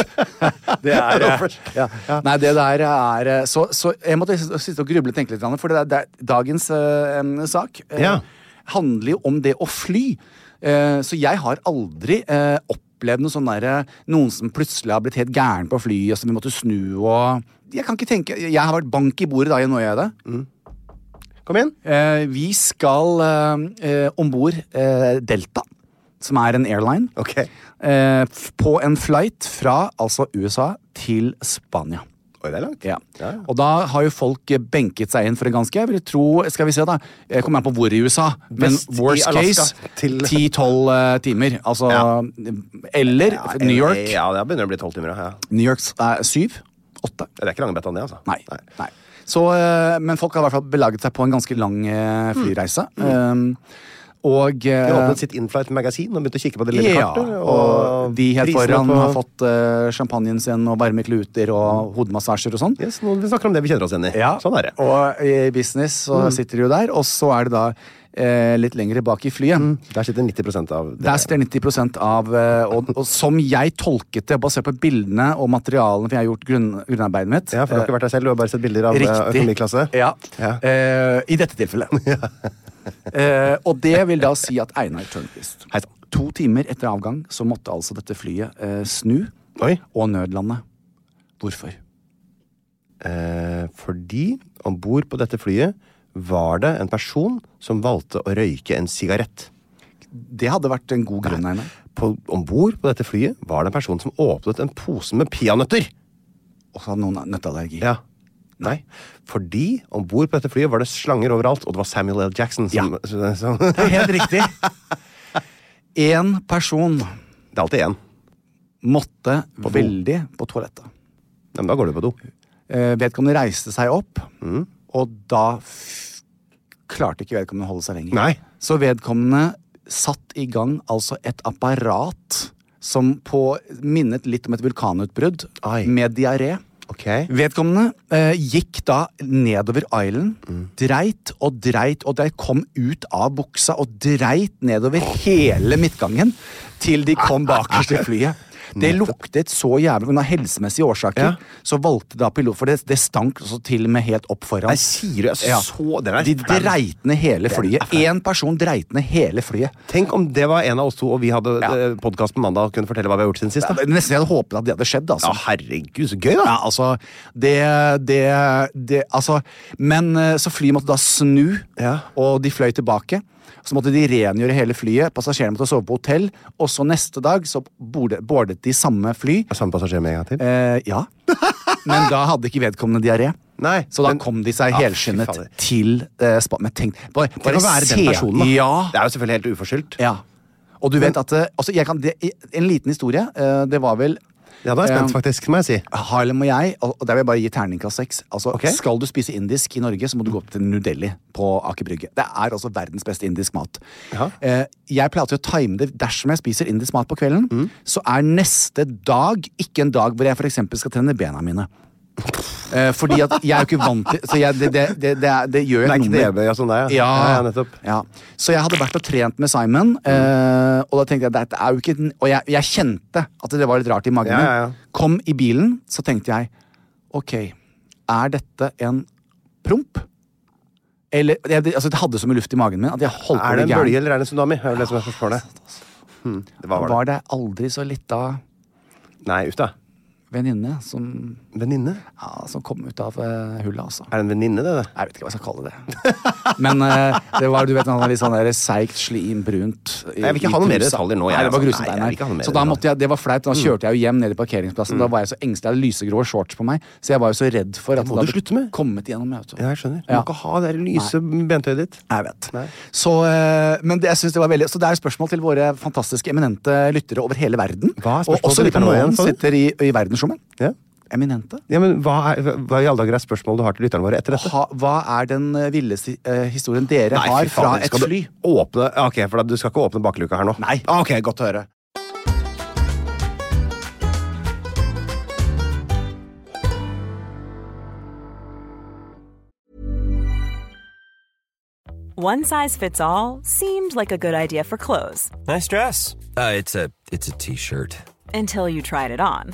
Speaker 3: det [LAUGHS] er
Speaker 2: Hello, fresh. Ja, ja.
Speaker 3: Nei, det der er eh, Så, så jeg måtte s- sitte og gruble og tenke litt, grann, for det der, det er- dagens eh, em, sak eh,
Speaker 2: Ja.
Speaker 3: handler jo om det å fly. Eh, så jeg har aldri eh, opplevd noe sånn derre Noen som plutselig har blitt helt gæren på flyet, og som vi måtte snu og Jeg kan ikke tenke Jeg har vært bank i bordet da, jeg nå gjør jeg det.
Speaker 2: [LAUGHS] Kom igjen.
Speaker 3: Eh, vi skal eh, eh, om bord eh, Delta, som er en airline,
Speaker 2: Ok.
Speaker 3: eh, f- på en flight fra altså USA til Spania.
Speaker 2: Oi, det er langt.
Speaker 3: Ja.
Speaker 2: Ja, ja.
Speaker 3: Og da har jo folk eh, benket seg inn for en ganske jeg vil tro, Skal vi se, da. Jeg kommer an på hvor i USA. Men
Speaker 2: Vest i
Speaker 3: worst case
Speaker 2: Alaska til-
Speaker 3: 10-12 eh, timer. Altså
Speaker 2: Ja.
Speaker 3: Eller New York.
Speaker 2: Ja, det begynner det å bli tolv timer. Ja.
Speaker 3: New York er syv. Åtte.
Speaker 2: Det er ikke langebetta, det, altså.
Speaker 3: Nei. nei. Så, eh, men folk har i hvert fall belaget seg på en ganske lang eh, flyreise. Um, og eh,
Speaker 2: Mm. De åpnet sitt Inflight magasin og begynte å kikke på det lille
Speaker 3: ja,
Speaker 2: kartet.
Speaker 3: og de helt
Speaker 2: prisene
Speaker 3: foran
Speaker 2: på-
Speaker 3: har fått eh, champagnen sin og varme kluter og hodemassasjer og sånn.
Speaker 2: Yes, nå vi snakker om det vi kjenner oss igjen i.
Speaker 3: Ja,
Speaker 2: Sånn er det. Mm.
Speaker 3: Og i business så sitter de jo der, og så er det da eh, litt lengre bak i flyet.
Speaker 2: Der sitter 90 av det.
Speaker 3: Der sitter 90 av eh, og, og som jeg tolket det, basert på bildene og materialene, for jeg har gjort grunn, grunnarbeidet mitt
Speaker 2: Ja, for du har ikke vært der selv, du har bare sett bilder av eh,
Speaker 3: Riktig.
Speaker 2: økonomiklasse.
Speaker 3: [LAUGHS] Ja.
Speaker 2: Ja.
Speaker 3: Eh, I dette
Speaker 2: [LAUGHS]
Speaker 3: tilfellet. Eh, og det vil da si at Einar Tørnquist
Speaker 2: Hei sann.
Speaker 3: To timer etter avgang så måtte altså dette flyet eh, snu
Speaker 2: Oi.
Speaker 3: og nødlande. Hvorfor?
Speaker 2: Eh, fordi om bord på dette flyet var det en person som valgte å røyke en sigarett.
Speaker 3: Det hadde vært en god grunn, Einar.
Speaker 2: Om bord på dette flyet var det en person som åpnet en pose med peanøtter.
Speaker 3: Og så hadde noen nøtteallergi.
Speaker 2: Ja. Nei. Fordi om bord på dette flyet var det slanger overalt, og det var Samuel L. Jackson som, [LAUGHS] som
Speaker 3: Det er
Speaker 2: [LAUGHS]
Speaker 3: helt riktig. Én person
Speaker 2: Det er alltid én.
Speaker 3: måtte
Speaker 2: do.
Speaker 3: veldig på toalettet.
Speaker 2: Ja, men da går du på do.
Speaker 3: Eh, vedkommende reiste seg opp,
Speaker 2: Mm.
Speaker 3: og da f klarte ikke vedkommende å holde seg lenger.
Speaker 2: Nei.
Speaker 3: Så vedkommende satt i gang altså et apparat som på minnet litt om et vulkanutbrudd
Speaker 2: Ai.
Speaker 3: med diaré.
Speaker 2: Ok.
Speaker 3: Vedkommende eh, gikk da nedover island,
Speaker 2: Mm.
Speaker 3: dreit og dreit og dreit, kom ut av buksa og dreit nedover hele midtgangen til de kom bakerst i
Speaker 2: [LAUGHS]
Speaker 3: flyet. Det luktet så jævlig, men av helsemessige årsaker
Speaker 2: Ja.
Speaker 3: så valgte da pilot For det, det stank også til og med helt opp foran.
Speaker 2: Nei, sier du? Jeg så- den er
Speaker 3: De
Speaker 2: fæl.
Speaker 3: dreit ned hele flyet. Én person dreit ned hele flyet.
Speaker 2: Tenk om det var en av oss to, og vi hadde
Speaker 3: Ja.
Speaker 2: eh, podkast på mandag og kunne fortelle hva vi har gjort siden sist. da.
Speaker 3: Ja, det- Nesten jeg hadde håpet at det hadde skjedd. altså.
Speaker 2: Ja, herregud, så gøy, da!
Speaker 3: Ja, altså Det, det, det Altså Men eh, så flyet måtte da snu,
Speaker 2: Ja.
Speaker 3: og de fløy tilbake. Så måtte de rengjøre hele flyet, passasjerene måtte sove på hotell, og så neste dag så borde- boardet de samme fly.
Speaker 2: Samme passasjer med en gang til?
Speaker 3: Eh,
Speaker 2: [LAUGHS]
Speaker 3: ja. Men da hadde ikke vedkommende diaré.
Speaker 2: Nei,
Speaker 3: Så da
Speaker 2: men-
Speaker 3: kom de seg
Speaker 2: Ja, fy
Speaker 3: helskynnet
Speaker 2: fader.
Speaker 3: til eh, Spa- Men tenk, bare,
Speaker 2: Tenk
Speaker 3: bare
Speaker 2: å være
Speaker 3: se
Speaker 2: den personen, da.
Speaker 3: Ja.
Speaker 2: Det er jo selvfølgelig helt uforskyldt.
Speaker 3: Ja. Og du vet at eh, altså jeg kan, det, En liten historie. eh, Det var vel
Speaker 2: Ja, da er jeg spent, faktisk, må jeg si.
Speaker 3: Harlem og jeg, og og der vil jeg bare gi terningkast seks. Altså,
Speaker 2: Ok.
Speaker 3: Skal du spise indisk i Norge, så må du gå til New Delhi på Aker Brygge. Det er altså verdens beste indisk mat.
Speaker 2: Jaha.
Speaker 3: Eh, jeg pleier alltid å time det. Dersom jeg spiser indisk mat på kvelden,
Speaker 2: Mm.
Speaker 3: så er neste dag ikke en dag hvor jeg f.eks. skal trene bena mine. Eh, fordi at jeg er jo ikke vant til Så jeg, det, det, det, det, er- det
Speaker 2: Det
Speaker 3: gjør jeg
Speaker 2: er
Speaker 3: et nummer
Speaker 2: knebøy og sånn der, ja. Ja, ja, nettopp. Mm.
Speaker 3: ja. Så jeg hadde vært og trent med Simon, eh, og da tenkte jeg dette er jo ikke den- Og jeg, jeg kjente at det var litt rart i magen
Speaker 2: Ja,
Speaker 3: min.
Speaker 2: ja, ja.
Speaker 3: Kom i bilen, så tenkte jeg ok, er dette en promp? Eller, jeg, det- altså Det hadde så mye luft i magen min at jeg holdt på
Speaker 2: Er
Speaker 3: å
Speaker 2: det
Speaker 3: bli
Speaker 2: en bølge
Speaker 3: gæren.
Speaker 2: eller er det en tsunami? Er det det som er spørsmålet? Hmm, hva var det?
Speaker 3: Var det aldri så lita
Speaker 2: Nei, uff da.
Speaker 3: venninne som,
Speaker 2: Venninne?
Speaker 3: ja, som kom ut av eh, hullet, altså?
Speaker 2: Er det en venninne, det? det?
Speaker 3: Jeg vet ikke hva jeg skal kalle det. [LAUGHS] Men eh, det var du vet, han var litt sånn der seigt, slim, brunt. i-
Speaker 2: Jeg vil ikke
Speaker 3: i
Speaker 2: ha noe mer
Speaker 3: trusa.
Speaker 2: detaljer nå, jeg,
Speaker 3: Nei, det var
Speaker 2: altså.
Speaker 3: grusomt.
Speaker 2: Nei, jeg
Speaker 3: nei.
Speaker 2: vil ikke ha noe mer
Speaker 3: så da
Speaker 2: detaljer. Mm.
Speaker 3: måtte jeg, det var flaut. Da kjørte jeg jo hjem ned i parkeringsplassen. Da var jeg så engstelig. Jeg hadde lysegrå shorts på meg. Så jeg var jo så redd for at
Speaker 2: må
Speaker 3: det
Speaker 2: du
Speaker 3: hadde
Speaker 2: slutte med.
Speaker 3: kommet igjennom. Jeg, vet du.
Speaker 2: Ja, jeg skjønner. Du
Speaker 3: Ja.
Speaker 2: må ikke ha det der lyse bentøyet ditt.
Speaker 3: Jeg vet.
Speaker 2: Nei.
Speaker 3: Så, eh, men det, jeg synes det var veldig Så det er et spørsmål til våre fantastiske eminente lyttere over hele verden.
Speaker 2: Hva er spørsmålet
Speaker 3: og også
Speaker 2: til
Speaker 3: de på
Speaker 2: lytterne nå igjen,
Speaker 3: månen
Speaker 2: sa du?
Speaker 3: sitter i, i verdensrommet.
Speaker 2: Ja.
Speaker 3: Eminente.
Speaker 2: Ja, men hva, er, hva- hva i alle dager er spørsmålet du har til lytterne våre etter dette?
Speaker 3: Ha, hva er den eh, villeste eh, historien dere
Speaker 2: Nei, fy
Speaker 3: har fra
Speaker 2: fader,
Speaker 3: et
Speaker 2: skal du
Speaker 3: fly?
Speaker 2: Åpne, ja, ok, for da, Du skal ikke åpne bakluka her nå?
Speaker 3: Nei.
Speaker 2: Ah, Ok, Godt å høre.
Speaker 4: One size fits all seemed like a good idea for clothes
Speaker 5: Nice dress. Uh, it's a it's a t-shirt.
Speaker 4: until you tried it on.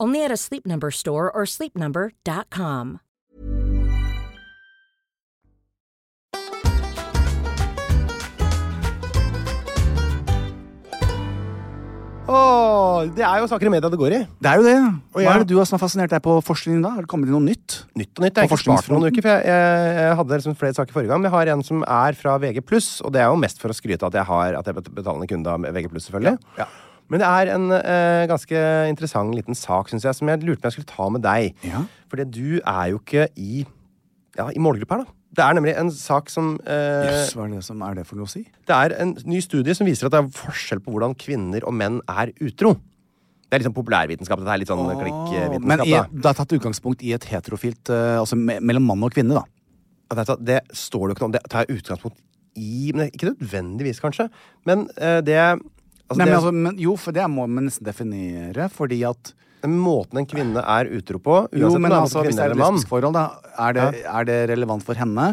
Speaker 6: Only at a Sleep Number store or sleepnumber.com.
Speaker 2: Åh, det er jo saker i media det går i.
Speaker 3: Det er jo det. Hva
Speaker 2: ja.
Speaker 3: er det du har som har fascinert deg på forskningen da? Har det kommet inn noe nytt?
Speaker 2: Nytt og nytt. Jeg har
Speaker 3: På
Speaker 2: ikke spart noen
Speaker 3: forskningsfronten.
Speaker 2: uker, for jeg, jeg, jeg hadde liksom flere saker forrige gang. Men jeg har en som er fra VG+, og det er jo mest for å skryte av at jeg har at jeg er bet- betalende kunde av VG+, selvfølgelig. Men det er en eh, ganske interessant liten sak, synes jeg, som jeg lurte på om jeg skulle ta med deg.
Speaker 3: Ja.
Speaker 2: Fordi du er jo ikke i, ja, i målgruppa her, da. Det er nemlig en sak som eh,
Speaker 3: Jøss, hva er det som er det for noe å si?
Speaker 2: Det er en ny studie som viser at det er forskjell på hvordan kvinner og menn er utro. Det er litt sånn populærvitenskap. Dette er litt sånn
Speaker 3: Men
Speaker 2: klikkvitenskap.
Speaker 3: i,
Speaker 2: da.
Speaker 3: det er tatt utgangspunkt i et heterofilt eh, Altså me mellom mann og kvinne, da.
Speaker 2: Ja, vet du hva, Det står det jo ikke noe om. Det tar jeg utgangspunkt i. Men det- ikke nødvendigvis, kanskje. Men eh, det Altså,
Speaker 3: Nei,
Speaker 2: det,
Speaker 3: men, altså, men, jo, for det må man nesten definere, fordi at
Speaker 2: den måten en kvinne er utro på, uansett
Speaker 3: Jo,
Speaker 2: om
Speaker 3: men
Speaker 2: det er
Speaker 3: altså,
Speaker 2: mot en
Speaker 3: hvis
Speaker 2: kvinne
Speaker 3: det er
Speaker 2: eller
Speaker 3: et
Speaker 2: mann
Speaker 3: lesbisk forhold, da, er det, er det relevant for henne?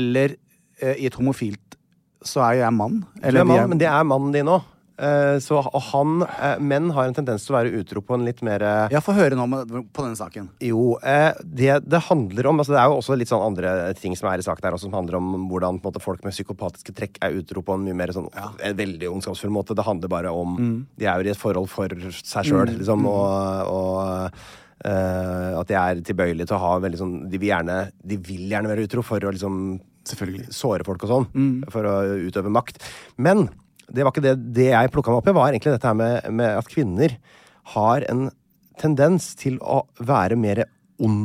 Speaker 3: Eller eh, i et homofilt så er jo jeg mann.
Speaker 2: Du er
Speaker 3: vi
Speaker 2: mann, men det er mannen din òg. Eh, så, og han, eh, menn har en tendens til å være utro på en litt mer eh,
Speaker 3: Ja, få høre nå om- på denne saken.
Speaker 2: Jo, eh, det det handler om altså Det er jo også litt sånn andre ting som er i saken her også, som handler om hvordan på en måte, folk med psykopatiske trekk er utro på en mye mer sånn en veldig ondskapsfull måte. Det handler bare om De er jo i et forhold for seg sjøl, liksom, og, og eh, at de er tilbøyelige til å ha veldig sånn De vil gjerne, de vil gjerne være utro for å liksom såre folk og sånn, for å utøve makt. Men det var ikke det, det jeg plukka meg opp i, var egentlig dette her med, med at kvinner har en tendens til å være mer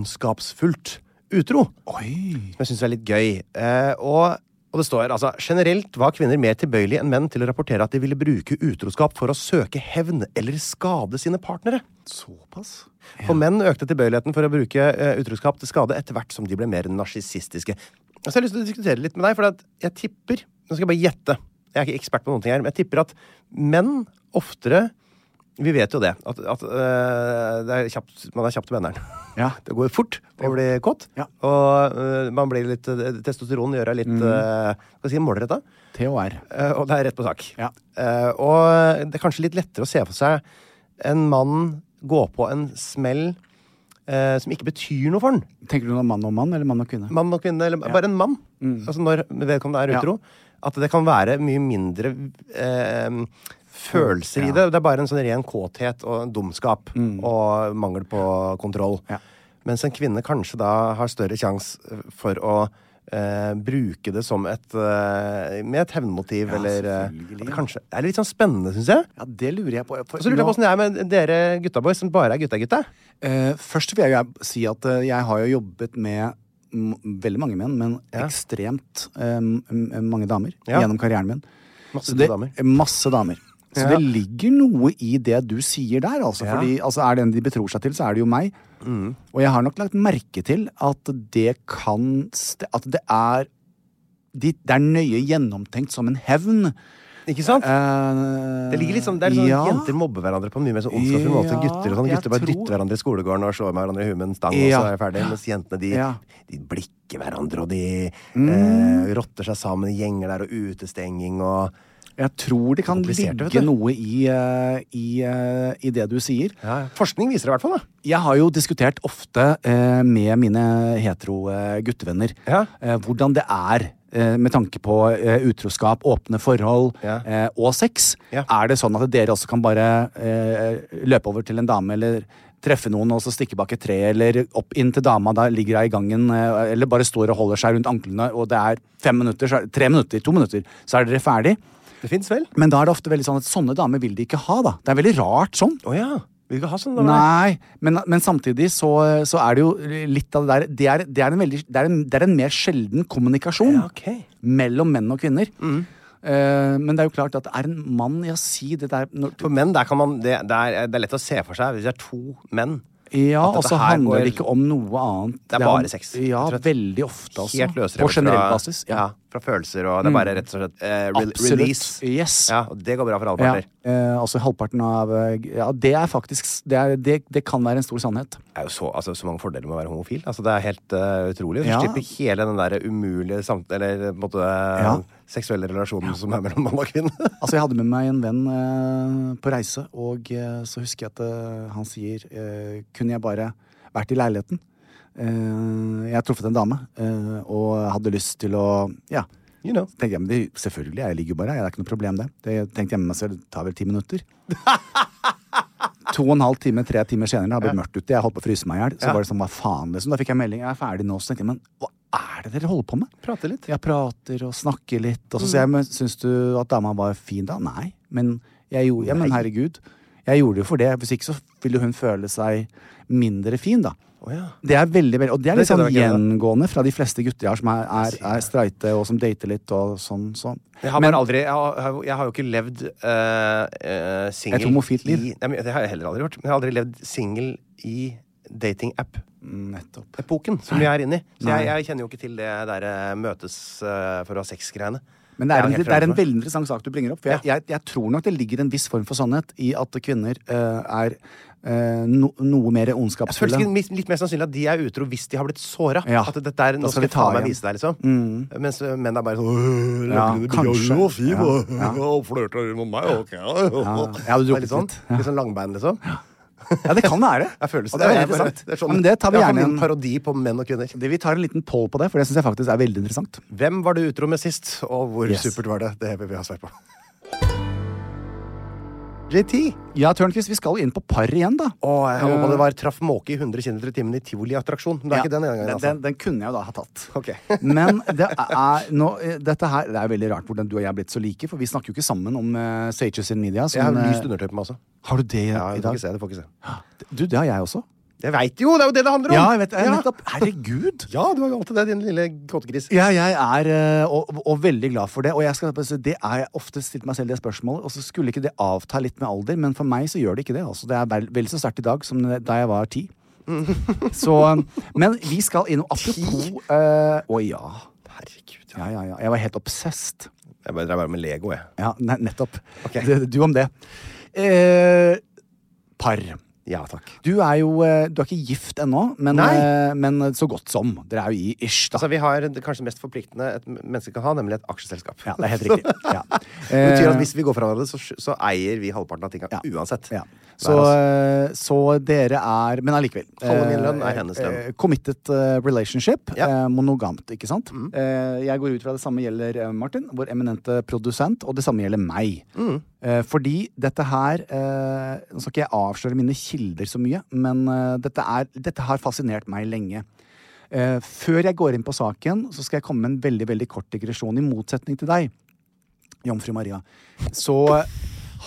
Speaker 2: ondskapsfullt utro. Som jeg syns er litt gøy. Eh, og, og det står altså generelt var kvinner mer tilbøyelige enn menn til å rapportere at de ville bruke utroskap for å søke hevn eller skade sine partnere.
Speaker 3: Såpass?
Speaker 2: For menn økte tilbøyeligheten for å bruke eh, utroskap til skade etter hvert som de ble mer narsissistiske. Så jeg har lyst til å diskutere litt med deg, for at jeg tipper Nå skal jeg bare gjette. Jeg er ikke ekspert på noen ting her, men jeg tipper at menn oftere Vi vet jo det. At, at eh, det er kjapt, man er kjapt til benderen. [LAUGHS]
Speaker 3: Ja.
Speaker 2: Det går fort å bli kåt,
Speaker 3: Ja.
Speaker 2: og eh, man blir litt eh, Testosteron gjør deg litt mm. Hva skal jeg si, målretta.
Speaker 3: THR.
Speaker 2: Eh, og det er rett på sak.
Speaker 3: Ja.
Speaker 2: Eh, og det er kanskje litt lettere å se for seg en mann gå på en smell eh, som ikke betyr noe for han.
Speaker 3: Tenker du nå mann og mann, eller mann og kvinne?
Speaker 2: Mann og kvinne, eller bare en mann. Altså når vedkommende er
Speaker 3: Mm. Ja.
Speaker 2: utro. At det kan være mye mindre eh, følelser i det. Det er bare en sånn ren kåthet og en dumskap og mangel på kontroll.
Speaker 3: Mm. Ja.
Speaker 2: Mens en kvinne kanskje da har større sjanse for å eh, bruke det som et eh, Med et hevnmotiv, eller eh,
Speaker 3: selvfølgelig.
Speaker 2: at det kanskje Det er litt sånn spennende, syns jeg.
Speaker 3: Ja, det lurer jeg på. For
Speaker 2: Og så Altså, lurer jeg
Speaker 3: nå-
Speaker 2: på åssen det er med dere gutta boys som bare er gutta-gutta.
Speaker 3: Eh, først vil jeg jo si at eh, jeg har jo jobbet med m- veldig mange menn, men ekstremt eh, m- m- mange damer
Speaker 2: Ja.
Speaker 3: gjennom karrieren min.
Speaker 2: Masse
Speaker 3: Så det-
Speaker 2: damer.
Speaker 3: Masse damer. Så
Speaker 2: Ja.
Speaker 3: det ligger noe i det du sier der, altså.
Speaker 2: Ja. Mm.
Speaker 3: Fordi altså, er det en de betror seg til, så er det jo meg. Og jeg har nok lagt merke til at det kan st- At det er de, Det er nøye gjennomtenkt som en hevn.
Speaker 2: Ikke sant?
Speaker 3: Eh,
Speaker 2: Det ligger litt sånn, det er sånn
Speaker 3: ja.
Speaker 2: Jenter mobber hverandre på en mye mer sånn ondskapsfull måte enn
Speaker 3: Ja,
Speaker 2: gutter. og sånn.
Speaker 3: jeg
Speaker 2: Gutter bare
Speaker 3: tror-
Speaker 2: dytter hverandre i skolegården og slår med hverandre i huet med en stang.
Speaker 3: Ja.
Speaker 2: og så er det ferdig. Mens jentene de,
Speaker 3: Ja. Mm.
Speaker 2: de blikker hverandre, og de eh, rotter seg sammen i gjenger der, og utestenging og
Speaker 3: Jeg tror det kan
Speaker 2: Komplisert, vet
Speaker 3: ligge
Speaker 2: du.
Speaker 3: noe i, eh, i, eh, i det du sier.
Speaker 2: Forskning viser det i hvert fall, da.
Speaker 3: Jeg har jo diskutert ofte eh, med mine hetero eh, guttevenner
Speaker 2: Ja.
Speaker 3: eh, hvordan det er eh, med tanke på eh, utroskap, åpne forhold
Speaker 2: Ja.
Speaker 3: eh, og sex.
Speaker 2: Ja.
Speaker 3: Er det sånn at dere også kan bare eh, løpe over til en dame eller treffe noen og så stikke bak et tre, eller opp inn til dama, da ligger hun i gangen, eh, eller bare står og holder seg rundt anklene, og det er fem minutter, så er, tre minutter, to minutter, så er dere ferdig?
Speaker 2: Det fins vel?
Speaker 3: Men da er det ofte veldig sånn at sånne damer vil de ikke ha, da. Det er veldig rart sånn.
Speaker 2: Å ja. Vil du ikke ha sånn? da?
Speaker 3: Nei, men, men samtidig så, så er det jo litt av det der Det er, det er, en, veldig, det er, en, det er en mer sjelden kommunikasjon
Speaker 2: Ja, ok. Mm.
Speaker 3: mellom menn og kvinner. Eh, men det er jo klart at er en mann Ja, si det der når,
Speaker 2: For menn der kan man, det, det, er, det er lett å se for seg hvis det er to menn.
Speaker 3: Ja,
Speaker 2: At dette
Speaker 3: og så
Speaker 2: her
Speaker 3: handler
Speaker 2: går-
Speaker 3: det ikke om noe annet.
Speaker 2: Det er bare sex,
Speaker 3: Ja,
Speaker 2: rett og slett.
Speaker 3: veldig ofte, altså.
Speaker 2: Helt løsere
Speaker 3: På generell
Speaker 2: fra-
Speaker 3: basis. Ja. Mm.
Speaker 2: Fra følelser og Det er bare rett og slett eh, re
Speaker 3: Absolutt.
Speaker 2: release.
Speaker 3: Yes.
Speaker 2: Ja, og det går bra for alle
Speaker 3: Ja,
Speaker 2: parter.
Speaker 3: eh, altså halvparten av eh, Ja, det er faktisk Det, er, det, det kan være en stor sannhet.
Speaker 2: Det er jo så, altså, så mange fordeler med å være homofil. Altså, det er helt eh, utrolig. Du
Speaker 3: Ja.
Speaker 2: slipper hele den der umulige samt... Eller eh, på en måte,
Speaker 3: Ja.
Speaker 2: seksuelle relasjonen som er mellom mann og kvinne. [LAUGHS]
Speaker 3: Altså, jeg hadde med meg en venn eh, på reise, og eh, så husker jeg at eh, han sier eh, Kunne jeg bare vært i leiligheten? Eh, jeg har truffet en dame, eh, og hadde lyst til å Ja.
Speaker 2: You know.
Speaker 3: tenkte jeg, men det, Selvfølgelig, jeg ligger jo bare her. Det er ikke noe problem, det. det tenkte jeg med meg selv, det tar vel ti minutter. [LAUGHS] To og en halv time, tre timer senere, det har blitt mørkt ute, jeg holdt på å fryse meg i hjel. Så var det sånn, hva faen, liksom. Da fikk jeg melding, jeg er ferdig nå. Så tenkte jeg, men hva er det dere holder på med?
Speaker 2: Prate litt.
Speaker 3: Jeg prater og snakker litt. Og så sier
Speaker 2: Mm.
Speaker 3: jeg, men syns du at dama var fin da? Nei. Men jeg gjorde, ja, men herregud. Jeg gjorde det jo for det. Hvis ikke så ville hun føle seg mindre fin, da.
Speaker 2: Å ja.
Speaker 3: Det er veldig, veldig, og det er
Speaker 2: Det
Speaker 3: litt sånn
Speaker 2: kjenner jeg ikke
Speaker 3: gjengående fra de fleste gutter jeg har som er, er, er streite og som dater litt og sånn. sånn.
Speaker 2: Jeg har,
Speaker 3: Men-
Speaker 2: bare aldri, jeg, har, jeg har jo ikke levd uh, singel
Speaker 3: Et homofilt liv.
Speaker 2: i- Nei, men Det har jeg heller aldri gjort. Men jeg har aldri levd singel i datingapp-epoken
Speaker 3: Nettopp.
Speaker 2: som vi er inne i. Så
Speaker 3: Nei.
Speaker 2: jeg, jeg kjenner jo ikke til det der eh, møtes eh, for å ha sex-greiene.
Speaker 3: Men det er,
Speaker 2: Ja,
Speaker 3: en,
Speaker 2: helt
Speaker 3: det er en
Speaker 2: fremfor.
Speaker 3: veldig interessant sak du bringer opp. For jeg, jeg, jeg tror nok det ligger en viss form for sannhet i at kvinner eh, er eh, no, noe mer
Speaker 2: Jeg føler
Speaker 3: ondskapsfulle.
Speaker 2: ikke mis- litt mer sannsynlig at de er utro hvis de har blitt såra.
Speaker 3: Ja.
Speaker 2: At dette er,
Speaker 3: Da
Speaker 2: nå skal
Speaker 3: skal vi
Speaker 2: jeg faen
Speaker 3: ta
Speaker 2: meg
Speaker 3: igjen. Mm.
Speaker 2: vise deg, liksom. Mens øh, menn er bare sånn øh,
Speaker 3: Ja,
Speaker 2: «Rakende
Speaker 3: kanskje.
Speaker 2: bygge, å, fin,
Speaker 3: Ja,
Speaker 2: å, [LAUGHS]
Speaker 3: ja.
Speaker 2: å, Flørter du med meg? Ok. Ja,
Speaker 3: jeg hadde
Speaker 2: Det er
Speaker 3: drukket
Speaker 2: litt sånn,
Speaker 3: litt, ja.
Speaker 2: litt sånn langbein, liksom.
Speaker 3: Ja, det kan være.
Speaker 2: Jeg føler
Speaker 3: Og det er
Speaker 2: bare-
Speaker 3: veldig interessant.
Speaker 2: det er sånn-
Speaker 3: ja, men det tar vi
Speaker 2: jeg har
Speaker 3: gjerne
Speaker 2: fått
Speaker 3: en
Speaker 2: en parodi på menn og kvinner.
Speaker 3: det, Vi tar en liten poll på det, for det syns jeg faktisk er veldig interessant.
Speaker 2: Hvem var du utro med sist, og hvor
Speaker 3: Yes.
Speaker 2: supert var det? Det vil vi ha svar på. JT.
Speaker 3: Ja, Tørnquist, vi skal jo inn på par igjen, da.
Speaker 2: Å, [LAUGHS] jeg
Speaker 3: eh,
Speaker 2: håpa det var traff måke i 100 km i timen i tivoliattraksjon. Men det er ikke den ene gangen,
Speaker 3: den,
Speaker 2: altså.
Speaker 3: den, den kunne jeg jo da ha tatt.
Speaker 2: Ok.
Speaker 3: [LAUGHS] Men det er nå, eh, dette her Det er veldig rart hvordan du og jeg er blitt så like, for vi snakker jo ikke sammen om uh, Sages in Media.
Speaker 2: Jeg har
Speaker 3: som, eh,
Speaker 2: lyst undertøy på meg også.
Speaker 3: har du det
Speaker 2: Ja,
Speaker 3: i
Speaker 2: du får
Speaker 3: dag?
Speaker 2: ikke se. Du får ikke se.
Speaker 3: Du, det har jeg også.
Speaker 2: Jeg veit jo! Det er jo det det handler om!
Speaker 3: Ja, jeg vet, jeg,
Speaker 2: ja.
Speaker 3: nettopp. Herregud!
Speaker 2: ja du har jo alltid det, din lille kåtegris.
Speaker 3: Ja, jeg er eh, og, og veldig glad for det. Og jeg skal, bare si, det er jeg ofte stilt meg selv det spørsmålet, og så skulle ikke det avta litt med alder, men for meg så gjør det ikke det. Altså. Det er vel, vel så sterkt i dag som det- da jeg var ti.
Speaker 2: Mm.
Speaker 3: Så, eh, men vi
Speaker 2: [LAUGHS]
Speaker 3: skal innom Apropos eh, Å ja.
Speaker 2: Herregud.
Speaker 3: Ja, ja, ja. Jeg var helt obsessed.
Speaker 2: Jeg bare drev bare med Lego, jeg.
Speaker 3: Ja, ne nettopp.
Speaker 2: Ok.
Speaker 3: Det- Du om det. Eh, par.
Speaker 2: Ja takk.
Speaker 3: Du er jo eh, Du er ikke gift ennå, men,
Speaker 2: Nei.
Speaker 3: eh, men så godt som. Dere er jo i ish, da.
Speaker 2: Altså, vi har det kanskje mest forpliktende et menneske kan ha, nemlig et aksjeselskap.
Speaker 3: ja, det er helt riktig.
Speaker 2: [LAUGHS]
Speaker 3: Ja.
Speaker 2: Det betyr
Speaker 3: Eh,
Speaker 2: at hvis vi går fra hverandre, så, så eier vi halvparten av tinga
Speaker 3: Ja.
Speaker 2: uansett.
Speaker 3: Ja.
Speaker 2: Så
Speaker 3: Så, eh, så dere er Men allikevel.
Speaker 2: Halve min lønn
Speaker 3: eh,
Speaker 2: er hennes lønn.
Speaker 3: eh, Committed eh, relationship.
Speaker 2: Ja.
Speaker 3: eh, Monogamt, ikke sant? Eh, Jeg går ut fra det samme gjelder eh, Martin, vår eminente produsent, og det samme gjelder meg. Eh, Fordi dette her eh, Nå skal ikke jeg avsløre mine kilder så mye, men eh, dette, er, dette har fascinert meg lenge. Eh, Før jeg går inn på saken, så skal jeg komme med en veldig, veldig kort digresjon, i motsetning til deg. Jomfru Maria, så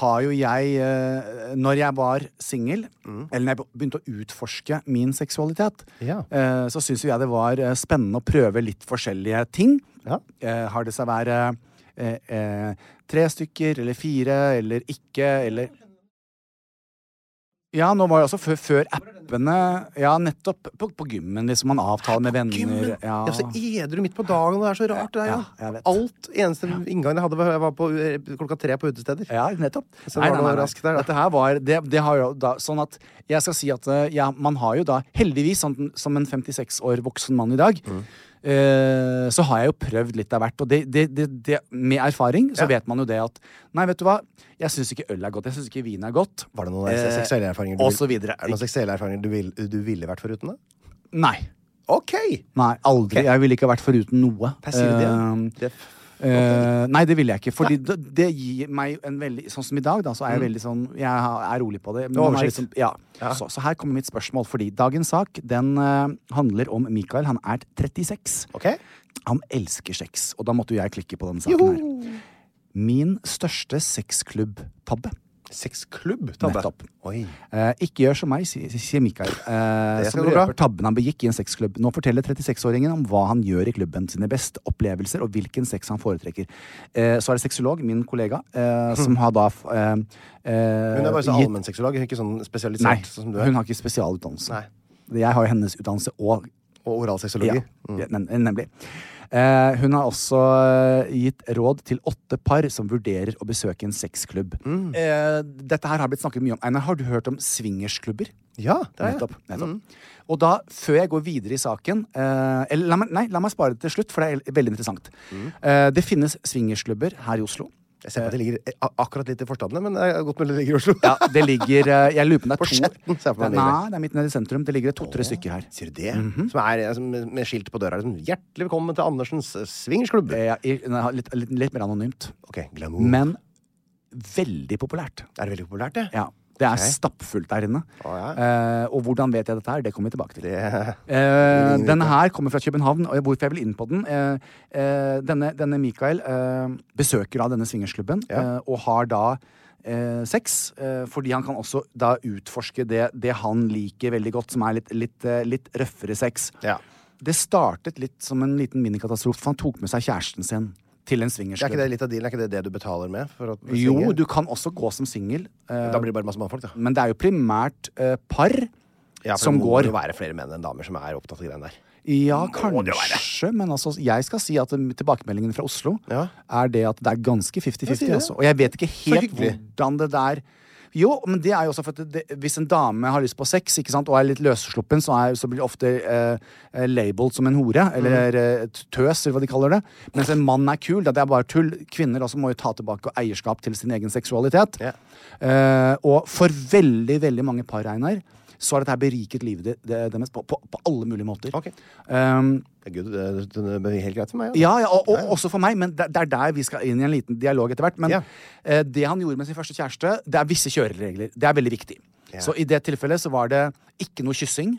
Speaker 3: har jo jeg eh, Når jeg var singel, eller når jeg begynte å utforske min seksualitet,
Speaker 2: Ja.
Speaker 3: eh, så syns jo jeg det var eh, spennende å prøve litt forskjellige ting.
Speaker 2: Ja.
Speaker 3: Eh, Har det seg være eh, eh, tre stykker eller fire eller ikke eller ja, nå var det også før, før appene Ja, nettopp på, på gymmen, liksom. Man avtaler med venner.
Speaker 2: Ja.
Speaker 3: Ja.
Speaker 2: så edru midt på dagen, og det er så rart, det der,
Speaker 3: Ja, jeg vet.
Speaker 2: Alt Eneste inngangen jeg hadde, var jeg var på eh, klokka tre på utesteder.
Speaker 3: Ja, nettopp.
Speaker 2: Så det var noe raskt der, da.
Speaker 3: Dette her var det, det har jo da, Sånn at jeg skal si at eh, ja, man har jo da, heldigvis, sånn, som en 56 år voksen mann i dag,
Speaker 2: Mm.
Speaker 3: eh, så har jeg jo prøvd litt av hvert. Og det, det, det, det, med erfaring så vet man jo det at Nei, vet du hva, jeg syns ikke øl er godt. Jeg syns ikke vin er godt.
Speaker 2: Var det noen eh, seksuelle erfaringer
Speaker 3: og
Speaker 2: vil-
Speaker 3: så videre.
Speaker 2: Er det noen seksuelle erfaringer du, vil, du ville vært foruten, da?
Speaker 3: Nei.
Speaker 2: OK!
Speaker 3: Nei, aldri.
Speaker 2: Ok.
Speaker 3: Jeg ville ikke vært foruten noe.
Speaker 2: Der sier du det.
Speaker 3: Eh,
Speaker 2: ja. det.
Speaker 3: Eh, nei, det ville jeg ikke. Fordi det, det gir meg en veldig Sånn som i dag, da, så er jeg veldig sånn Jeg har- er rolig på det. men man er
Speaker 2: oversikt.
Speaker 3: liksom- ja. Så, så her kommer mitt spørsmål. Fordi dagens sak den eh, handler om Mikael. Han er 36.
Speaker 2: OK?
Speaker 3: Han elsker sex. Og da måtte jo jeg klikke på denne saken her. Min største sexklubb-tabbe.
Speaker 2: Sexklubb, Tante.
Speaker 3: Nettopp.
Speaker 2: Oi.
Speaker 3: Eh, ikke gjør som meg, sier sier Mikael. Eh,
Speaker 2: Det
Speaker 3: som
Speaker 2: skal gå bra.
Speaker 3: røper tabben han begikk i en sexklubb. Nå forteller 36-åringen om hva han gjør i klubben. Sine beste opplevelser og hvilken sex han foretrekker. Eh, så er det sexolog, min kollega, eh, som har da f- eh, eh,
Speaker 2: Hmm. Hun er bare så
Speaker 3: gitt-
Speaker 2: allmennseksolog, ikke sånn spesialisert
Speaker 3: Nei,
Speaker 2: sånn som du er.
Speaker 3: hun har ikke spesialutdannelse.
Speaker 2: Nei.
Speaker 3: Jeg har jo hennes utdannelse og
Speaker 2: Og
Speaker 3: ja,
Speaker 2: oralseksologi.
Speaker 3: ja, nem- nemlig. Eh, hun har også eh, gitt råd til åtte par som vurderer å besøke en sexklubb.
Speaker 2: Hmm.
Speaker 3: Eh, dette her har blitt snakket mye om. Einar, har du hørt om swingersklubber?
Speaker 2: Ja, det er jeg.
Speaker 3: Nettopp. nettopp. Mm. Og da, før jeg går videre i saken eh, eller, la meg, Nei, la meg spare det til slutt, for det er veldig interessant.
Speaker 2: Mm.
Speaker 3: Eh, det finnes swingersklubber her i Oslo.
Speaker 2: Jeg ser på at det ligger a- akkurat litt i forstandene, men det er godt mulig det ligger i Oslo. [LAUGHS]
Speaker 3: Ja, [LAUGHS] det ligger eh, Jeg lurer på om det
Speaker 2: På
Speaker 3: er to
Speaker 2: Skjetten, ser jeg for meg det ligger.
Speaker 3: Nei, det er midt nede i sentrum. Det ligger to-tre stykker her. Mm.
Speaker 2: Sier du det?
Speaker 3: Mhm.
Speaker 2: Som er eh, som, med skilt på døra liksom, 'Hjertelig velkommen til Andersens eh, swingersklubb'.
Speaker 3: Eh, Mm. i- nei, litt, litt, litt mer anonymt.
Speaker 2: Ok, glamour.
Speaker 3: Men veldig populært.
Speaker 2: Er det veldig populært, det?
Speaker 3: Ja. Det er stappfullt der inne.
Speaker 2: Å,
Speaker 3: eh, og hvordan vet jeg dette her? Det kommer vi tilbake til.
Speaker 2: Det-
Speaker 3: Eh, denne her kommer fra København, og hvorfor jeg vil inn på den eh, eh, denne, denne Mikael eh, besøker da denne swingersklubben
Speaker 2: Ja.
Speaker 3: eh, og har da eh, sex, eh, fordi han kan også da utforske det, det han liker veldig godt, som er litt, litt, eh, litt røffere sex.
Speaker 2: [LAUGHS] Ja.
Speaker 3: Det startet litt som en liten minikatastrofe, for han tok med seg kjæresten sin til en
Speaker 2: Er ikke
Speaker 3: swingersklubb.
Speaker 2: det litt av dealen? Er ikke det det du betaler med? For å
Speaker 3: Jo,
Speaker 2: swinge?
Speaker 3: du kan også gå som singel, eh,
Speaker 2: Da blir det bare masse mannfolk, da.
Speaker 3: men det er jo primært eh, par
Speaker 2: Ja, for
Speaker 3: som
Speaker 2: det må
Speaker 3: går.
Speaker 2: jo være flere menn enn damer som er opptatt av greiene der.
Speaker 3: Ja,
Speaker 7: Må det være.
Speaker 3: kanskje, men altså, jeg skal si at um, tilbakemeldingen fra Oslo
Speaker 7: Ja.
Speaker 3: er det at det er ganske 50-50.
Speaker 7: sier det.
Speaker 3: altså. Og jeg vet ikke helt
Speaker 7: hyggelig.
Speaker 3: hvordan det der Jo, men det er jo også for at det, hvis en dame har lyst på sex ikke sant, og er litt løssluppen, så, er, så blir det ofte eh, eh, labeled som en hore,
Speaker 7: Mm.
Speaker 3: eller eh, t- tøs, eller hva de kaller det. Mens en mann er kul. Det er bare tull. Kvinner også må jo ta tilbake eierskap til sin egen seksualitet.
Speaker 7: Ja.
Speaker 3: Eh, og for veldig, veldig mange par, Einar, så har dette her beriket livet de- de- deres på, på, på alle mulige måter.
Speaker 7: Ok.
Speaker 3: Um,
Speaker 7: Det er, good, det, det, det er helt greit for
Speaker 2: altså.
Speaker 7: meg.
Speaker 3: ja, ja og, og også for meg, men det, det er der vi skal inn i en liten dialog etter hvert. Men
Speaker 7: Ja.
Speaker 3: eh, det han gjorde med sin første kjæreste, det er visse kjøreregler. Det er veldig viktig. Så i det tilfellet så var det ikke noe kyssing.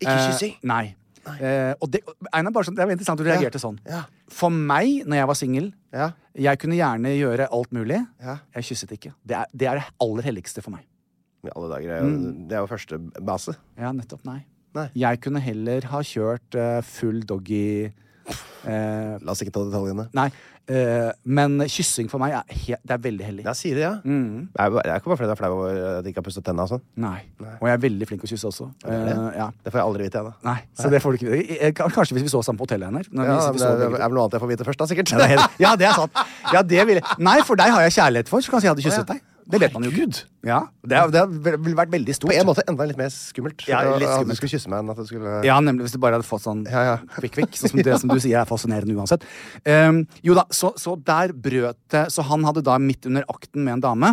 Speaker 7: Ikke kyssing?
Speaker 3: Eh, nei. Eh, og det, Einar, bare sånn, det er veldig interessant at du reagerte sånn.
Speaker 7: Ja.
Speaker 3: For meg, når jeg var singel,
Speaker 7: Ja.
Speaker 3: jeg kunne gjerne gjøre alt mulig.
Speaker 7: Ja.
Speaker 3: Jeg kysset ikke. Det er, det er det aller helligste for meg.
Speaker 7: I alle dager, det er jo,
Speaker 3: Mm.
Speaker 7: det er jo første base.
Speaker 3: Ja, nettopp. Nei.
Speaker 7: Nei.
Speaker 3: Jeg kunne heller ha kjørt eh, full doggy eh,
Speaker 7: La oss ikke ta detaljene.
Speaker 3: Nei. eh, men kyssing for meg er, he- det er veldig hellig.
Speaker 7: Ja, sier det, ja.
Speaker 3: Mm.
Speaker 7: Det er jo- det er ikke bare fordi du er flau over at de ikke har pusset tenna og sånn.
Speaker 3: Nei. Og jeg er veldig flink til å kysse også.
Speaker 7: Er det det?
Speaker 3: Eh, ja.
Speaker 7: Det får jeg aldri vite, jeg, da.
Speaker 3: Nei, så det får du ikke eh, k- Kanskje hvis vi så sammen på hotellet, Einar. når vi-
Speaker 7: Ja,
Speaker 3: hvis vi
Speaker 7: men det
Speaker 3: så
Speaker 7: er
Speaker 3: begge
Speaker 7: det
Speaker 3: to.
Speaker 7: er vel noe annet jeg får vite først, da, sikkert.
Speaker 3: [LAUGHS] Ja, det er helt- ja, det er sant. Ja, det vil jeg. Nei, for deg har jeg kjærlighet for, så kanskje jeg hadde kysset deg. Det vet man jo ikke. Ja, det, er- [LAUGHS] det er- ville vært veldig stort.
Speaker 7: På en måte enda litt mer skummelt.
Speaker 3: Ja, litt
Speaker 7: At
Speaker 3: skummelt.
Speaker 7: du skulle kysse meg enn at du skulle
Speaker 2: eh,
Speaker 3: Ja, nemlig hvis du bare hadde fått sånn [LAUGHS] kvikk-kvikk. Sånn som det som du sier er fascinerende uansett. Ehm, jo da, så, så der brøt det Så han hadde da midt under akten med en dame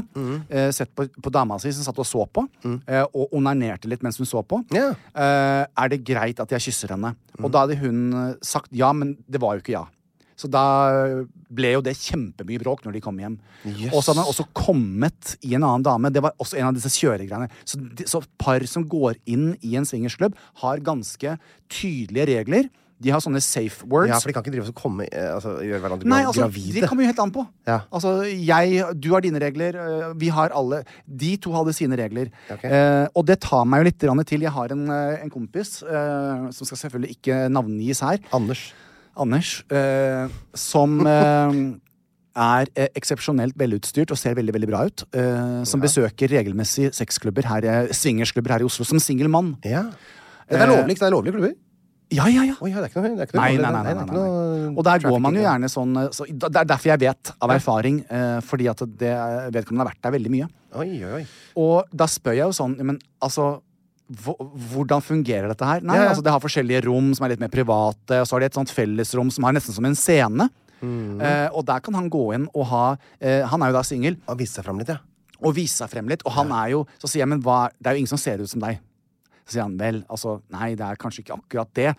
Speaker 3: eh, sett på, på dama si som satt og så på, eh, og onanerte litt mens hun så på.
Speaker 7: Ja.
Speaker 3: Eh, er det greit at jeg kysser henne? Og da hadde hun eh, sagt ja, men det var jo ikke ja. Så da ble jo det kjempemye bråk når de kom hjem. Og så hadde han også kommet i en annen dame. Det var også en av disse kjøregreiene. Så, de- så par som går inn i en swingersklubb, har ganske tydelige regler. De har sånne safe words.
Speaker 7: Ja, for de kan ikke drive og komme, eh, altså, gjøre hverandre
Speaker 3: Nei,
Speaker 7: gra-
Speaker 3: altså,
Speaker 7: gravide.
Speaker 3: Det kommer jo helt an på.
Speaker 7: Ja.
Speaker 3: Altså, jeg, Du har dine regler, øh, vi har alle De to hadde sine regler.
Speaker 7: Ok.
Speaker 3: Eh, og det tar meg jo litt grann til. Jeg har en, eh, en kompis, eh, som skal selvfølgelig ikke navngis her,
Speaker 7: Anders.
Speaker 3: Anders, eh, som eh, er eh, eksepsjonelt velutstyrt og ser veldig veldig bra ut. Eh, som besøker regelmessig sexklubber, her, eh, swingersklubber her i Oslo, som singel mann.
Speaker 7: Ja. Det er lovlig, det er lovlige klubber.
Speaker 3: Ja, ja, ja.
Speaker 7: Oi, ja, det er ikke noe, det er ikke noe
Speaker 3: Nei,
Speaker 7: lovlig,
Speaker 3: nei, nei,
Speaker 7: det
Speaker 3: nei,
Speaker 7: er
Speaker 3: nei,
Speaker 7: ikke noe
Speaker 3: nei. Og der går
Speaker 7: trafficking.
Speaker 3: man jo gjerne sånn eh, så, Det er derfor jeg vet av erfaring, eh, fordi at det vedkommende har vært der veldig mye.
Speaker 7: Oi, oi, oi.
Speaker 3: Og da spør jeg jo sånn Men altså hvo- hvordan fungerer dette her? Nei,
Speaker 7: Ja, ja.
Speaker 3: altså Det har forskjellige rom som er litt mer private. Og så har de et sånt fellesrom som er nesten som en scene.
Speaker 7: Mm.
Speaker 3: Eh, og der kan han gå inn og ha eh, Han er jo da singel,
Speaker 7: Han viste seg fram litt, ja.
Speaker 3: og vise seg frem litt. Og han er jo Så sier jeg, men hva er- Det er jo ingen som ser ut som deg. Så sier han vel, altså Nei, det er kanskje ikke akkurat det.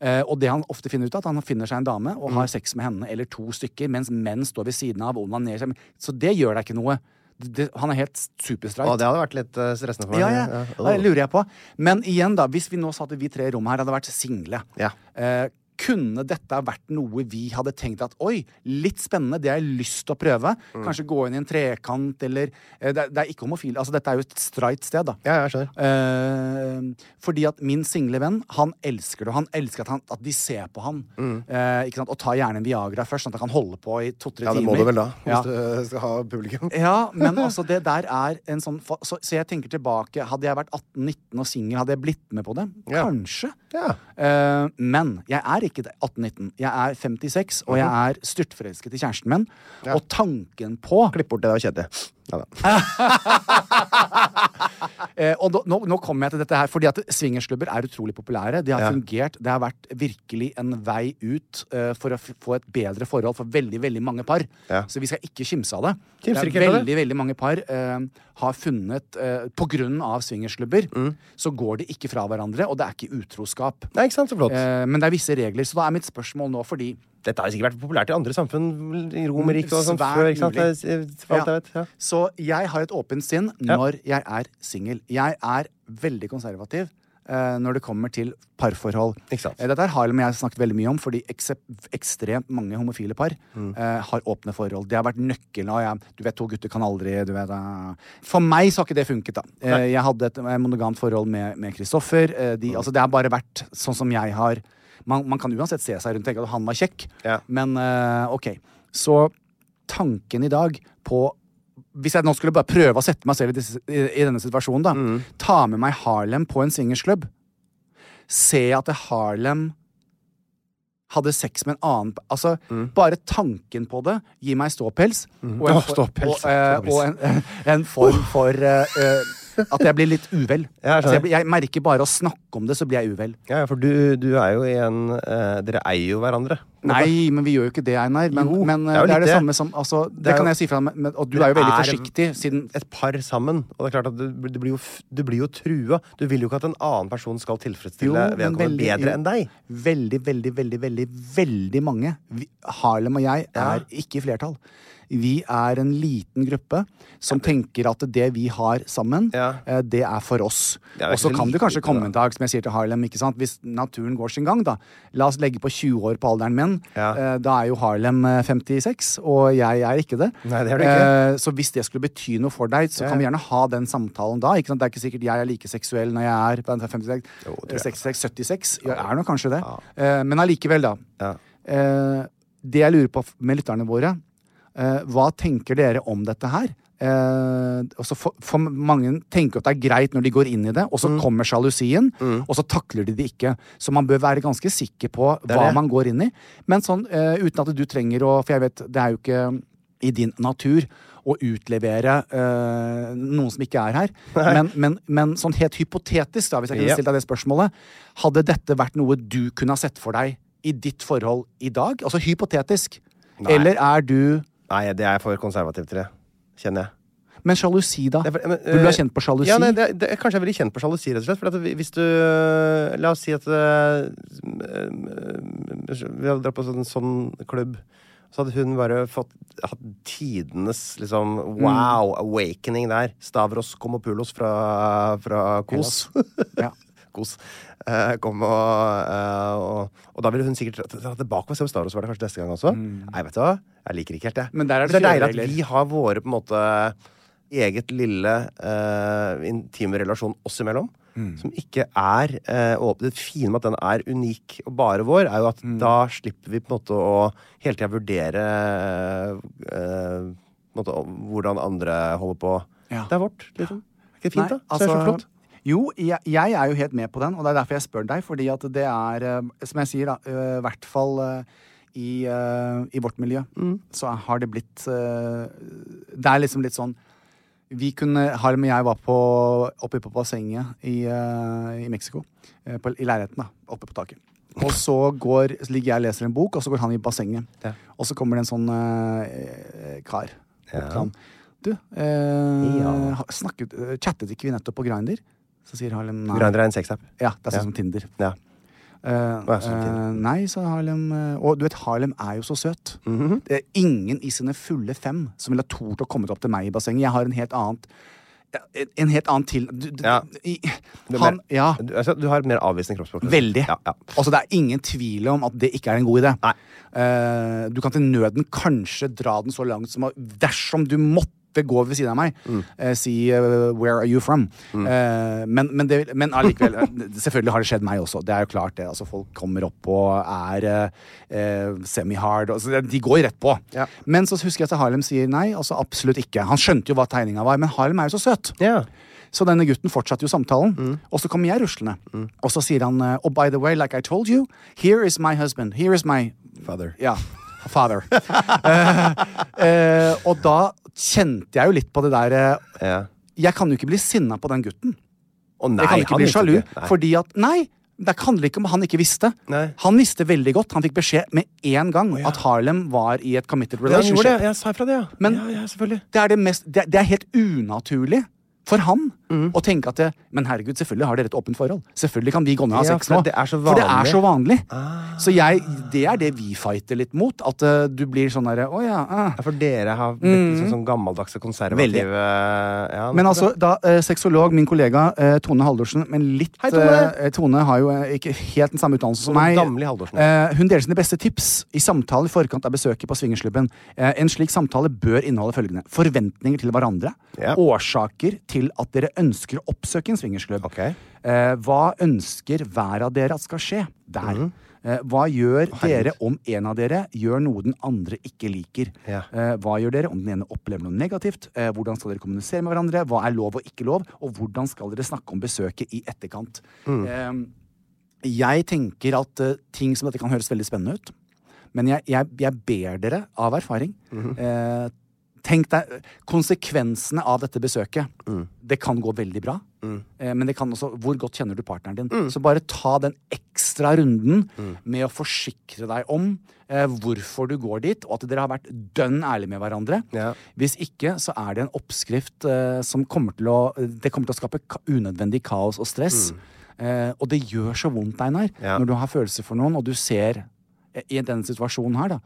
Speaker 3: Eh, og det han ofte finner ut av, at han finner seg en dame og
Speaker 7: Mm.
Speaker 3: har sex med henne eller to stykker, mens menn står ved siden av og onanerer seg. Så det gjør deg ikke noe. Det, det, han er helt superstreit.
Speaker 7: Å, det hadde vært litt eh, stressende for meg.
Speaker 3: Ja, ja.
Speaker 7: Åh.
Speaker 3: ja, det lurer jeg på. Men igjen, da, hvis vi nå satt vi tre i rommet her, hadde vært single.
Speaker 7: Ja.
Speaker 3: Eh, kunne dette vært noe vi hadde tenkt at oi, litt spennende, det har jeg lyst til å prøve?
Speaker 7: Mm.
Speaker 3: Kanskje gå inn i en trekant, eller eh, det, er- det er ikke homofil. Altså, dette er jo et streit sted, da.
Speaker 7: ja, ja, jeg skjønner.
Speaker 3: Eh, fordi at min single venn, han elsker det. og Han elsker at, han, at de ser på han.
Speaker 7: Mm.
Speaker 3: Eh, ikke sant? Og tar gjerne en Viagra først, sånn at han kan holde på i to-tre
Speaker 7: Ja,
Speaker 3: timer.
Speaker 7: det må du vel da, hvis
Speaker 3: Ja.
Speaker 7: du eh, skal ha publikum.
Speaker 3: Ja, men altså, det der er en sånn fa- Så, så jeg tenker tilbake. Hadde jeg vært 18-19 og singel, hadde jeg blitt med på det?
Speaker 7: Ja.
Speaker 3: Kanskje.
Speaker 7: Ja.
Speaker 3: Eh, men jeg er ikke det, 18-19. Jeg er 56, og jeg er styrtforelsket i kjæresten min. Og tanken på
Speaker 7: Klipp bort det der kjedelige. Ja, da.
Speaker 3: Eh, og nå- nå, nå kommer jeg til dette her, fordi at swingersklubber er utrolig populære. De har
Speaker 7: Ja.
Speaker 3: fungert. Det har vært virkelig en vei ut eh, for å f få et bedre forhold for veldig veldig mange par.
Speaker 7: Ja.
Speaker 3: Så vi skal ikke kimse av det.
Speaker 7: Kimser
Speaker 3: det
Speaker 7: ikke
Speaker 3: er
Speaker 7: helt av
Speaker 3: veldig, veldig mange par eh, har funnet eh, På grunn av swingersklubber
Speaker 7: Mm.
Speaker 3: så går de ikke fra hverandre, og det er ikke utroskap.
Speaker 7: Nei, ikke sant, så flott.
Speaker 3: Eh, men det er visse regler, så da er mitt spørsmål nå fordi
Speaker 7: Dette har sikkert vært populært i andre samfunn, i Romerriket og sånn
Speaker 3: Svært
Speaker 7: før, ikke sant?
Speaker 3: mulig.
Speaker 7: Det er- [LAUGHS] for alt jeg vet. Ja.
Speaker 3: Så jeg har et åpent sinn når jeg er singel. Jeg er veldig konservativ. eh, når det kommer til parforhold.
Speaker 7: Ikke sant.
Speaker 3: Eh, Dette her har Harlem og jeg snakket veldig mye om, fordi eksep- ekstremt mange homofile par eh, har åpne forhold. Det har vært nøkkelen. Og jeg, du vet, to gutter kan aldri du vet, eh. For meg så har ikke det funket. da. Eh, jeg hadde et eh, monogamt forhold med med Kristoffer. eh, de, altså, det har bare vært sånn som jeg har Man, man kan uansett se seg rundt og tenke at han var kjekk,
Speaker 7: Ja.
Speaker 3: men eh, OK. Så tanken i dag på hvis jeg nå skulle bare prøve å sette meg selv i, disse, i, i denne situasjonen, da. Ta med meg Harlem på en swingersklubb. Se at Harlem hadde sex med en annen Altså, bare tanken på det gir meg ståpels. Og en,
Speaker 8: Åh,
Speaker 3: for-
Speaker 8: ståpels,
Speaker 3: og, eh,
Speaker 8: ståpels.
Speaker 3: og en, [LAUGHS] eh, en form for eh, eh, At jeg blir litt uvel.
Speaker 8: Ja, jeg skjønner.
Speaker 3: altså, jeg, blir- jeg merker bare å snakke om det, så blir jeg uvel.
Speaker 2: Ja, ja, for du, du er jo i en eh, Dere eier jo hverandre.
Speaker 3: Nei, men vi gjør jo ikke det, Einar. Men,
Speaker 2: Jo,
Speaker 3: men eh,
Speaker 2: det er jo
Speaker 3: det er
Speaker 2: litt
Speaker 3: det,
Speaker 2: det.
Speaker 3: samme som altså,
Speaker 2: er
Speaker 3: Det kan
Speaker 2: jo-
Speaker 3: jeg si fra deg, og du
Speaker 2: Dere
Speaker 3: er jo veldig
Speaker 2: er-
Speaker 3: forsiktig, siden
Speaker 2: Et par sammen. Og det er klart at du, du, blir, jo, f- du blir jo trua. Du vil jo ikke at en annen person skal tilfredsstille
Speaker 3: Jo, men
Speaker 2: vedkommende
Speaker 3: veldig-
Speaker 2: bedre
Speaker 3: jo.
Speaker 2: enn deg.
Speaker 3: Veldig, veldig, veldig, veldig veldig mange. Vi, Harlem og jeg er ikke i flertall. Vi er en liten gruppe som tenker at det vi har sammen,
Speaker 2: Ja.
Speaker 3: eh, det er for oss.
Speaker 2: Det er jo
Speaker 3: Og så
Speaker 2: ikke
Speaker 3: kan det
Speaker 2: liten
Speaker 3: kanskje
Speaker 2: gruppe,
Speaker 3: komme en dag, som jeg sier til Harlem, ikke sant? hvis naturen går sin gang, da. La oss legge på 20 år på alderen min.
Speaker 2: Ja.
Speaker 3: Eh, Da er jo Harlem eh, 56, og jeg er ikke det.
Speaker 2: Nei, det er du ikke.
Speaker 3: Eh, Så hvis det skulle bety noe for deg, så kan vi gjerne ha den samtalen da. Ikke sant? Det er ikke sikkert jeg er like seksuell når jeg er 56,
Speaker 2: tror jeg.
Speaker 3: 66, 76. Jeg er nok kanskje det. Eh, Men allikevel, da.
Speaker 2: Ja.
Speaker 3: Eh, Det jeg lurer på f- med lytterne våre, eh, hva tenker dere om dette her? Eh, også for, for mange tenker at det er greit når de går inn i det, og så
Speaker 2: Mm.
Speaker 3: kommer sjalusien, og så takler de det ikke. Så man bør være ganske sikker på hva
Speaker 2: det.
Speaker 3: man går inn i. Men sånn, eh, uten at du trenger å For jeg vet, det er jo ikke i din natur å utlevere eh, noen som ikke er her. Men, men, men sånn helt hypotetisk, da, hvis jeg kunne
Speaker 2: Ja.
Speaker 3: stilt deg det spørsmålet Hadde dette vært noe du kunne ha sett for deg i ditt forhold i dag? Altså hypotetisk. Eller er du
Speaker 2: Nei, det er for konservativt til det. Kjenner jeg.
Speaker 3: Men sjalusi, da?
Speaker 2: Det er for- men,
Speaker 3: Vil du ha
Speaker 2: eh,
Speaker 3: kjent på sjalusi?
Speaker 2: Ja, nei, det, det, kanskje jeg ville kjent på sjalusi, rett og slett. For at hvis du La oss si at eh, Vi hadde dratt på en sånn, sånn klubb. Så hadde hun bare fått hatt tidenes liksom,
Speaker 3: Mm.
Speaker 2: wow awakening der. Stavros Komopoulos fra, fra KOS.
Speaker 3: Ja.
Speaker 2: Kos. Eh, kom og, eh, og, og da ville hun sikkert dra- dra tilbake og se om Stavros var der kanskje neste gang også. Nei, vet du hva? Jeg liker ikke helt det.
Speaker 3: Mm. Men der er det
Speaker 2: Så det er deilig
Speaker 3: kjøreregler.
Speaker 2: at vi har våre på en måte eget lille eh, intime relasjon oss imellom.
Speaker 3: Mm.
Speaker 2: Som ikke er eh, åpen. Det fine med at den er unik og bare vår, er jo at
Speaker 3: Mm.
Speaker 2: da slipper vi på en måte å hele tida vurdere eh, på en måte, hvordan andre holder på.
Speaker 3: Ja.
Speaker 2: Det er vårt, liksom. Er ikke det fint, da?
Speaker 3: Nei,
Speaker 2: Så det er så
Speaker 3: altså,
Speaker 2: flott.
Speaker 3: Jo, jeg, jeg er jo helt med på den, og det er derfor jeg spør deg. Fordi at det er, eh, som jeg sier, da, eh, i hvert fall eh, i, eh, i vårt miljø,
Speaker 2: Mm.
Speaker 3: så har det blitt eh, Det er liksom litt sånn vi kunne, Harm og jeg var på, oppe på bassenget i, eh, i Mexico. eh, på, I leiligheten, da. Oppe på taket. Og så, går, så ligger jeg og leser en bok, og så går han i bassenget. Og så kommer det en sånn eh, kar opp til ham. Du, eh, ha- snakket, eh, chattet ikke vi nettopp på Grinder? Så sier Harlem nei.
Speaker 2: Grindr er en sexapp.
Speaker 3: Ja, det er sånn som Tinder.
Speaker 2: Ja.
Speaker 3: Eh,
Speaker 2: er sånn
Speaker 3: eh,
Speaker 2: Tinder.
Speaker 3: nei, sa Harlem. eh, Og du vet, Harlem er jo så søt.
Speaker 2: Mhm.
Speaker 3: Det er ingen i sine fulle fem som ville tort å komme opp til meg i bassenget. Jeg har en helt annet en- En helt annen til... Du, du,
Speaker 2: Ja.
Speaker 3: i,
Speaker 2: Du er
Speaker 3: han,
Speaker 2: mer-
Speaker 3: ja.
Speaker 2: Du, altså, du har et mer avvisende kroppsspråk.
Speaker 3: Veldig.
Speaker 2: Ja, ja.
Speaker 3: Altså, det er ingen tvil om at det ikke er en god idé.
Speaker 2: Nei.
Speaker 3: Eh, du kan til nøden kanskje dra den så langt som at dersom du måtte gå ved siden av meg,
Speaker 2: Mm.
Speaker 3: eh, si eh, 'where are you from'? Eh, men, men, det, men allikevel [LAUGHS] eh, Selvfølgelig har det skjedd meg også. Det er jo klart det. Altså, folk kommer opp og er eh, eh, semi-hard. Altså, det- de går rett på.
Speaker 2: Ja.
Speaker 3: Men så husker jeg at Harlem sier nei. Altså, absolutt ikke. Han skjønte jo hva tegninga var, men Harlem er jo så søt.
Speaker 2: Ja.
Speaker 3: Så denne gutten fortsatte jo samtalen,
Speaker 2: Mm.
Speaker 3: og så kommer jeg ruslende. Og så sier han eh, Oh, by the way, like I told you, here is my husband. Here is my
Speaker 2: Father.
Speaker 3: Ja, father. [LAUGHS] Eh, eh, og da kjente jeg jo litt på det der eh,
Speaker 2: Ja.
Speaker 3: Jeg kan jo ikke bli sinna på den gutten.
Speaker 2: Å, nei,
Speaker 3: jeg kan ikke
Speaker 2: han
Speaker 3: bli
Speaker 2: visste
Speaker 3: sjalu.
Speaker 2: Nei.
Speaker 3: Fordi at Nei! Det handler ikke om hva han ikke visste.
Speaker 2: Nei.
Speaker 3: Han visste veldig godt. Han fikk beskjed med en gang at Harlem var i et committed
Speaker 2: Ja, han
Speaker 3: relationship.
Speaker 2: gjorde det. Jeg sa ifra det, ja.
Speaker 3: Men-
Speaker 2: ja, ja selvfølgelig.
Speaker 3: Det er, det, mest, det, er- det er helt unaturlig for han
Speaker 2: Mm.
Speaker 3: å tenke at det, Men herregud, selvfølgelig har dere et åpent forhold. Selvfølgelig kan vi gå ned og ha
Speaker 2: Ja,
Speaker 3: sex
Speaker 2: for
Speaker 3: nå.
Speaker 2: det er så
Speaker 3: For det er
Speaker 2: vanlig. Ah.
Speaker 3: så vanlig. Så jeg, det er det vi fighter litt mot. At eh, du blir sånn derre Å ja. ah».
Speaker 2: Ja, for dere har blitt liksom sånn gammeldagse
Speaker 3: Veldig.
Speaker 2: konservative ja,
Speaker 3: Men altså, da eh, sexolog, min kollega eh, Tone Haldorsen Men litt
Speaker 2: Hei, Tone!
Speaker 3: eh, Tone har jo eh, ikke helt den samme utdannelse som
Speaker 2: Tone
Speaker 3: meg.
Speaker 2: Damli Haldorsen.
Speaker 3: Eh, hun deler sine beste tips i samtaler i forkant av besøket på swingersklubben. Eh, en slik samtale bør inneholde følgende forventninger til hverandre.
Speaker 2: Ja.
Speaker 3: Årsaker til at dere ønsker å oppsøke en swingersklubb.
Speaker 2: Ok.
Speaker 3: Eh, hva ønsker hver av dere at skal skje der? Eh, hva gjør dere om en av dere gjør noe den andre ikke liker?
Speaker 2: Ja.
Speaker 3: Eh, hva gjør dere om den ene opplever noe negativt? Eh, hvordan skal dere kommunisere med hverandre? Hva er lov og ikke lov? Og hvordan skal dere snakke om besøket i etterkant? Eh, Jeg tenker at eh, ting som dette kan høres veldig spennende ut, men jeg, jeg, jeg ber dere av erfaring
Speaker 2: Mhm.
Speaker 3: eh, Tenk deg eh, konsekvensene av dette besøket.
Speaker 2: Mm.
Speaker 3: Det kan gå veldig bra, eh, men det kan også Hvor godt kjenner du partneren din?
Speaker 2: Mm.
Speaker 3: Så bare ta den ekstra runden med å forsikre deg om eh, hvorfor du går dit, og at dere har vært dønn ærlige med hverandre.
Speaker 2: Ja.
Speaker 3: Hvis ikke, så er det en oppskrift eh, som kommer til å Det kommer til å skape ka unødvendig kaos og stress. Eh, og det gjør så vondt, Einar,
Speaker 2: Mm. Ja.
Speaker 3: når du har følelser for noen, og du ser eh, i denne situasjonen her, da,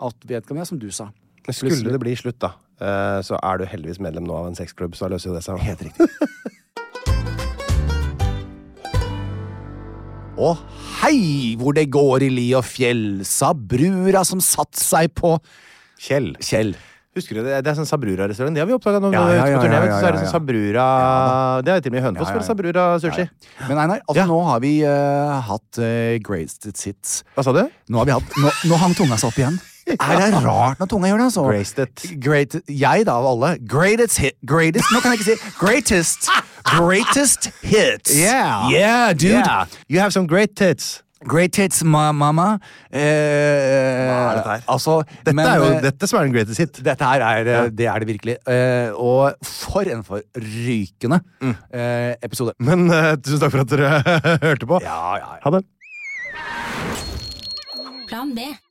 Speaker 3: at vedkommende, ja, som du sa
Speaker 2: Men Skulle det bli slutt, da, eh, så er du heldigvis medlem nå av en sexklubb, så løser jo det seg.
Speaker 3: Helt riktig. Og hei hvor det går i li og fjell, sa brura som satt seg på
Speaker 2: Kjell.
Speaker 3: Kjell.
Speaker 2: Husker du det? Det er sånn Sabrura-restaurant. Det har vi oppdaga når vi
Speaker 3: Ja,
Speaker 2: var
Speaker 3: ja,
Speaker 2: ute på
Speaker 3: ja,
Speaker 2: turné.
Speaker 3: ja,
Speaker 2: vet du, Så
Speaker 3: ja,
Speaker 2: er det
Speaker 3: ja,
Speaker 2: sånn
Speaker 3: ja.
Speaker 2: Sabrura Det har jo til og med i Hønefoss
Speaker 3: Ja, ja,
Speaker 2: vært
Speaker 3: ja.
Speaker 2: Sabrura sushi.
Speaker 3: Men Einar, altså,
Speaker 2: Ja.
Speaker 3: nå har vi eh, hatt eh, greatest hits.
Speaker 2: Hva sa du?
Speaker 3: Nå, har vi hatt, nå, nå hang tunga seg opp igjen. Er det rart når tunga gjør det? altså?
Speaker 2: Graced it.
Speaker 3: Great, jeg, da, av alle. Greatest hit Greatest Nå kan jeg ikke si greatest. Greatest hits.
Speaker 2: Yeah.
Speaker 3: Yeah, dude.
Speaker 2: Yeah. You have some great tits.
Speaker 3: Great hits, ma mamma. Eh,
Speaker 2: er dette her?
Speaker 3: Altså,
Speaker 2: Dette
Speaker 3: men,
Speaker 2: er jo
Speaker 3: eh,
Speaker 2: dette som er den greatest hit.
Speaker 3: dette her er, eh, det er det virkelig. Eh, og for en forrykende eh, episode.
Speaker 2: Men eh, tusen [LAUGHS] takk for at dere hørte på.
Speaker 3: Ja, ja, ja.
Speaker 2: Ha det.
Speaker 9: Plan B.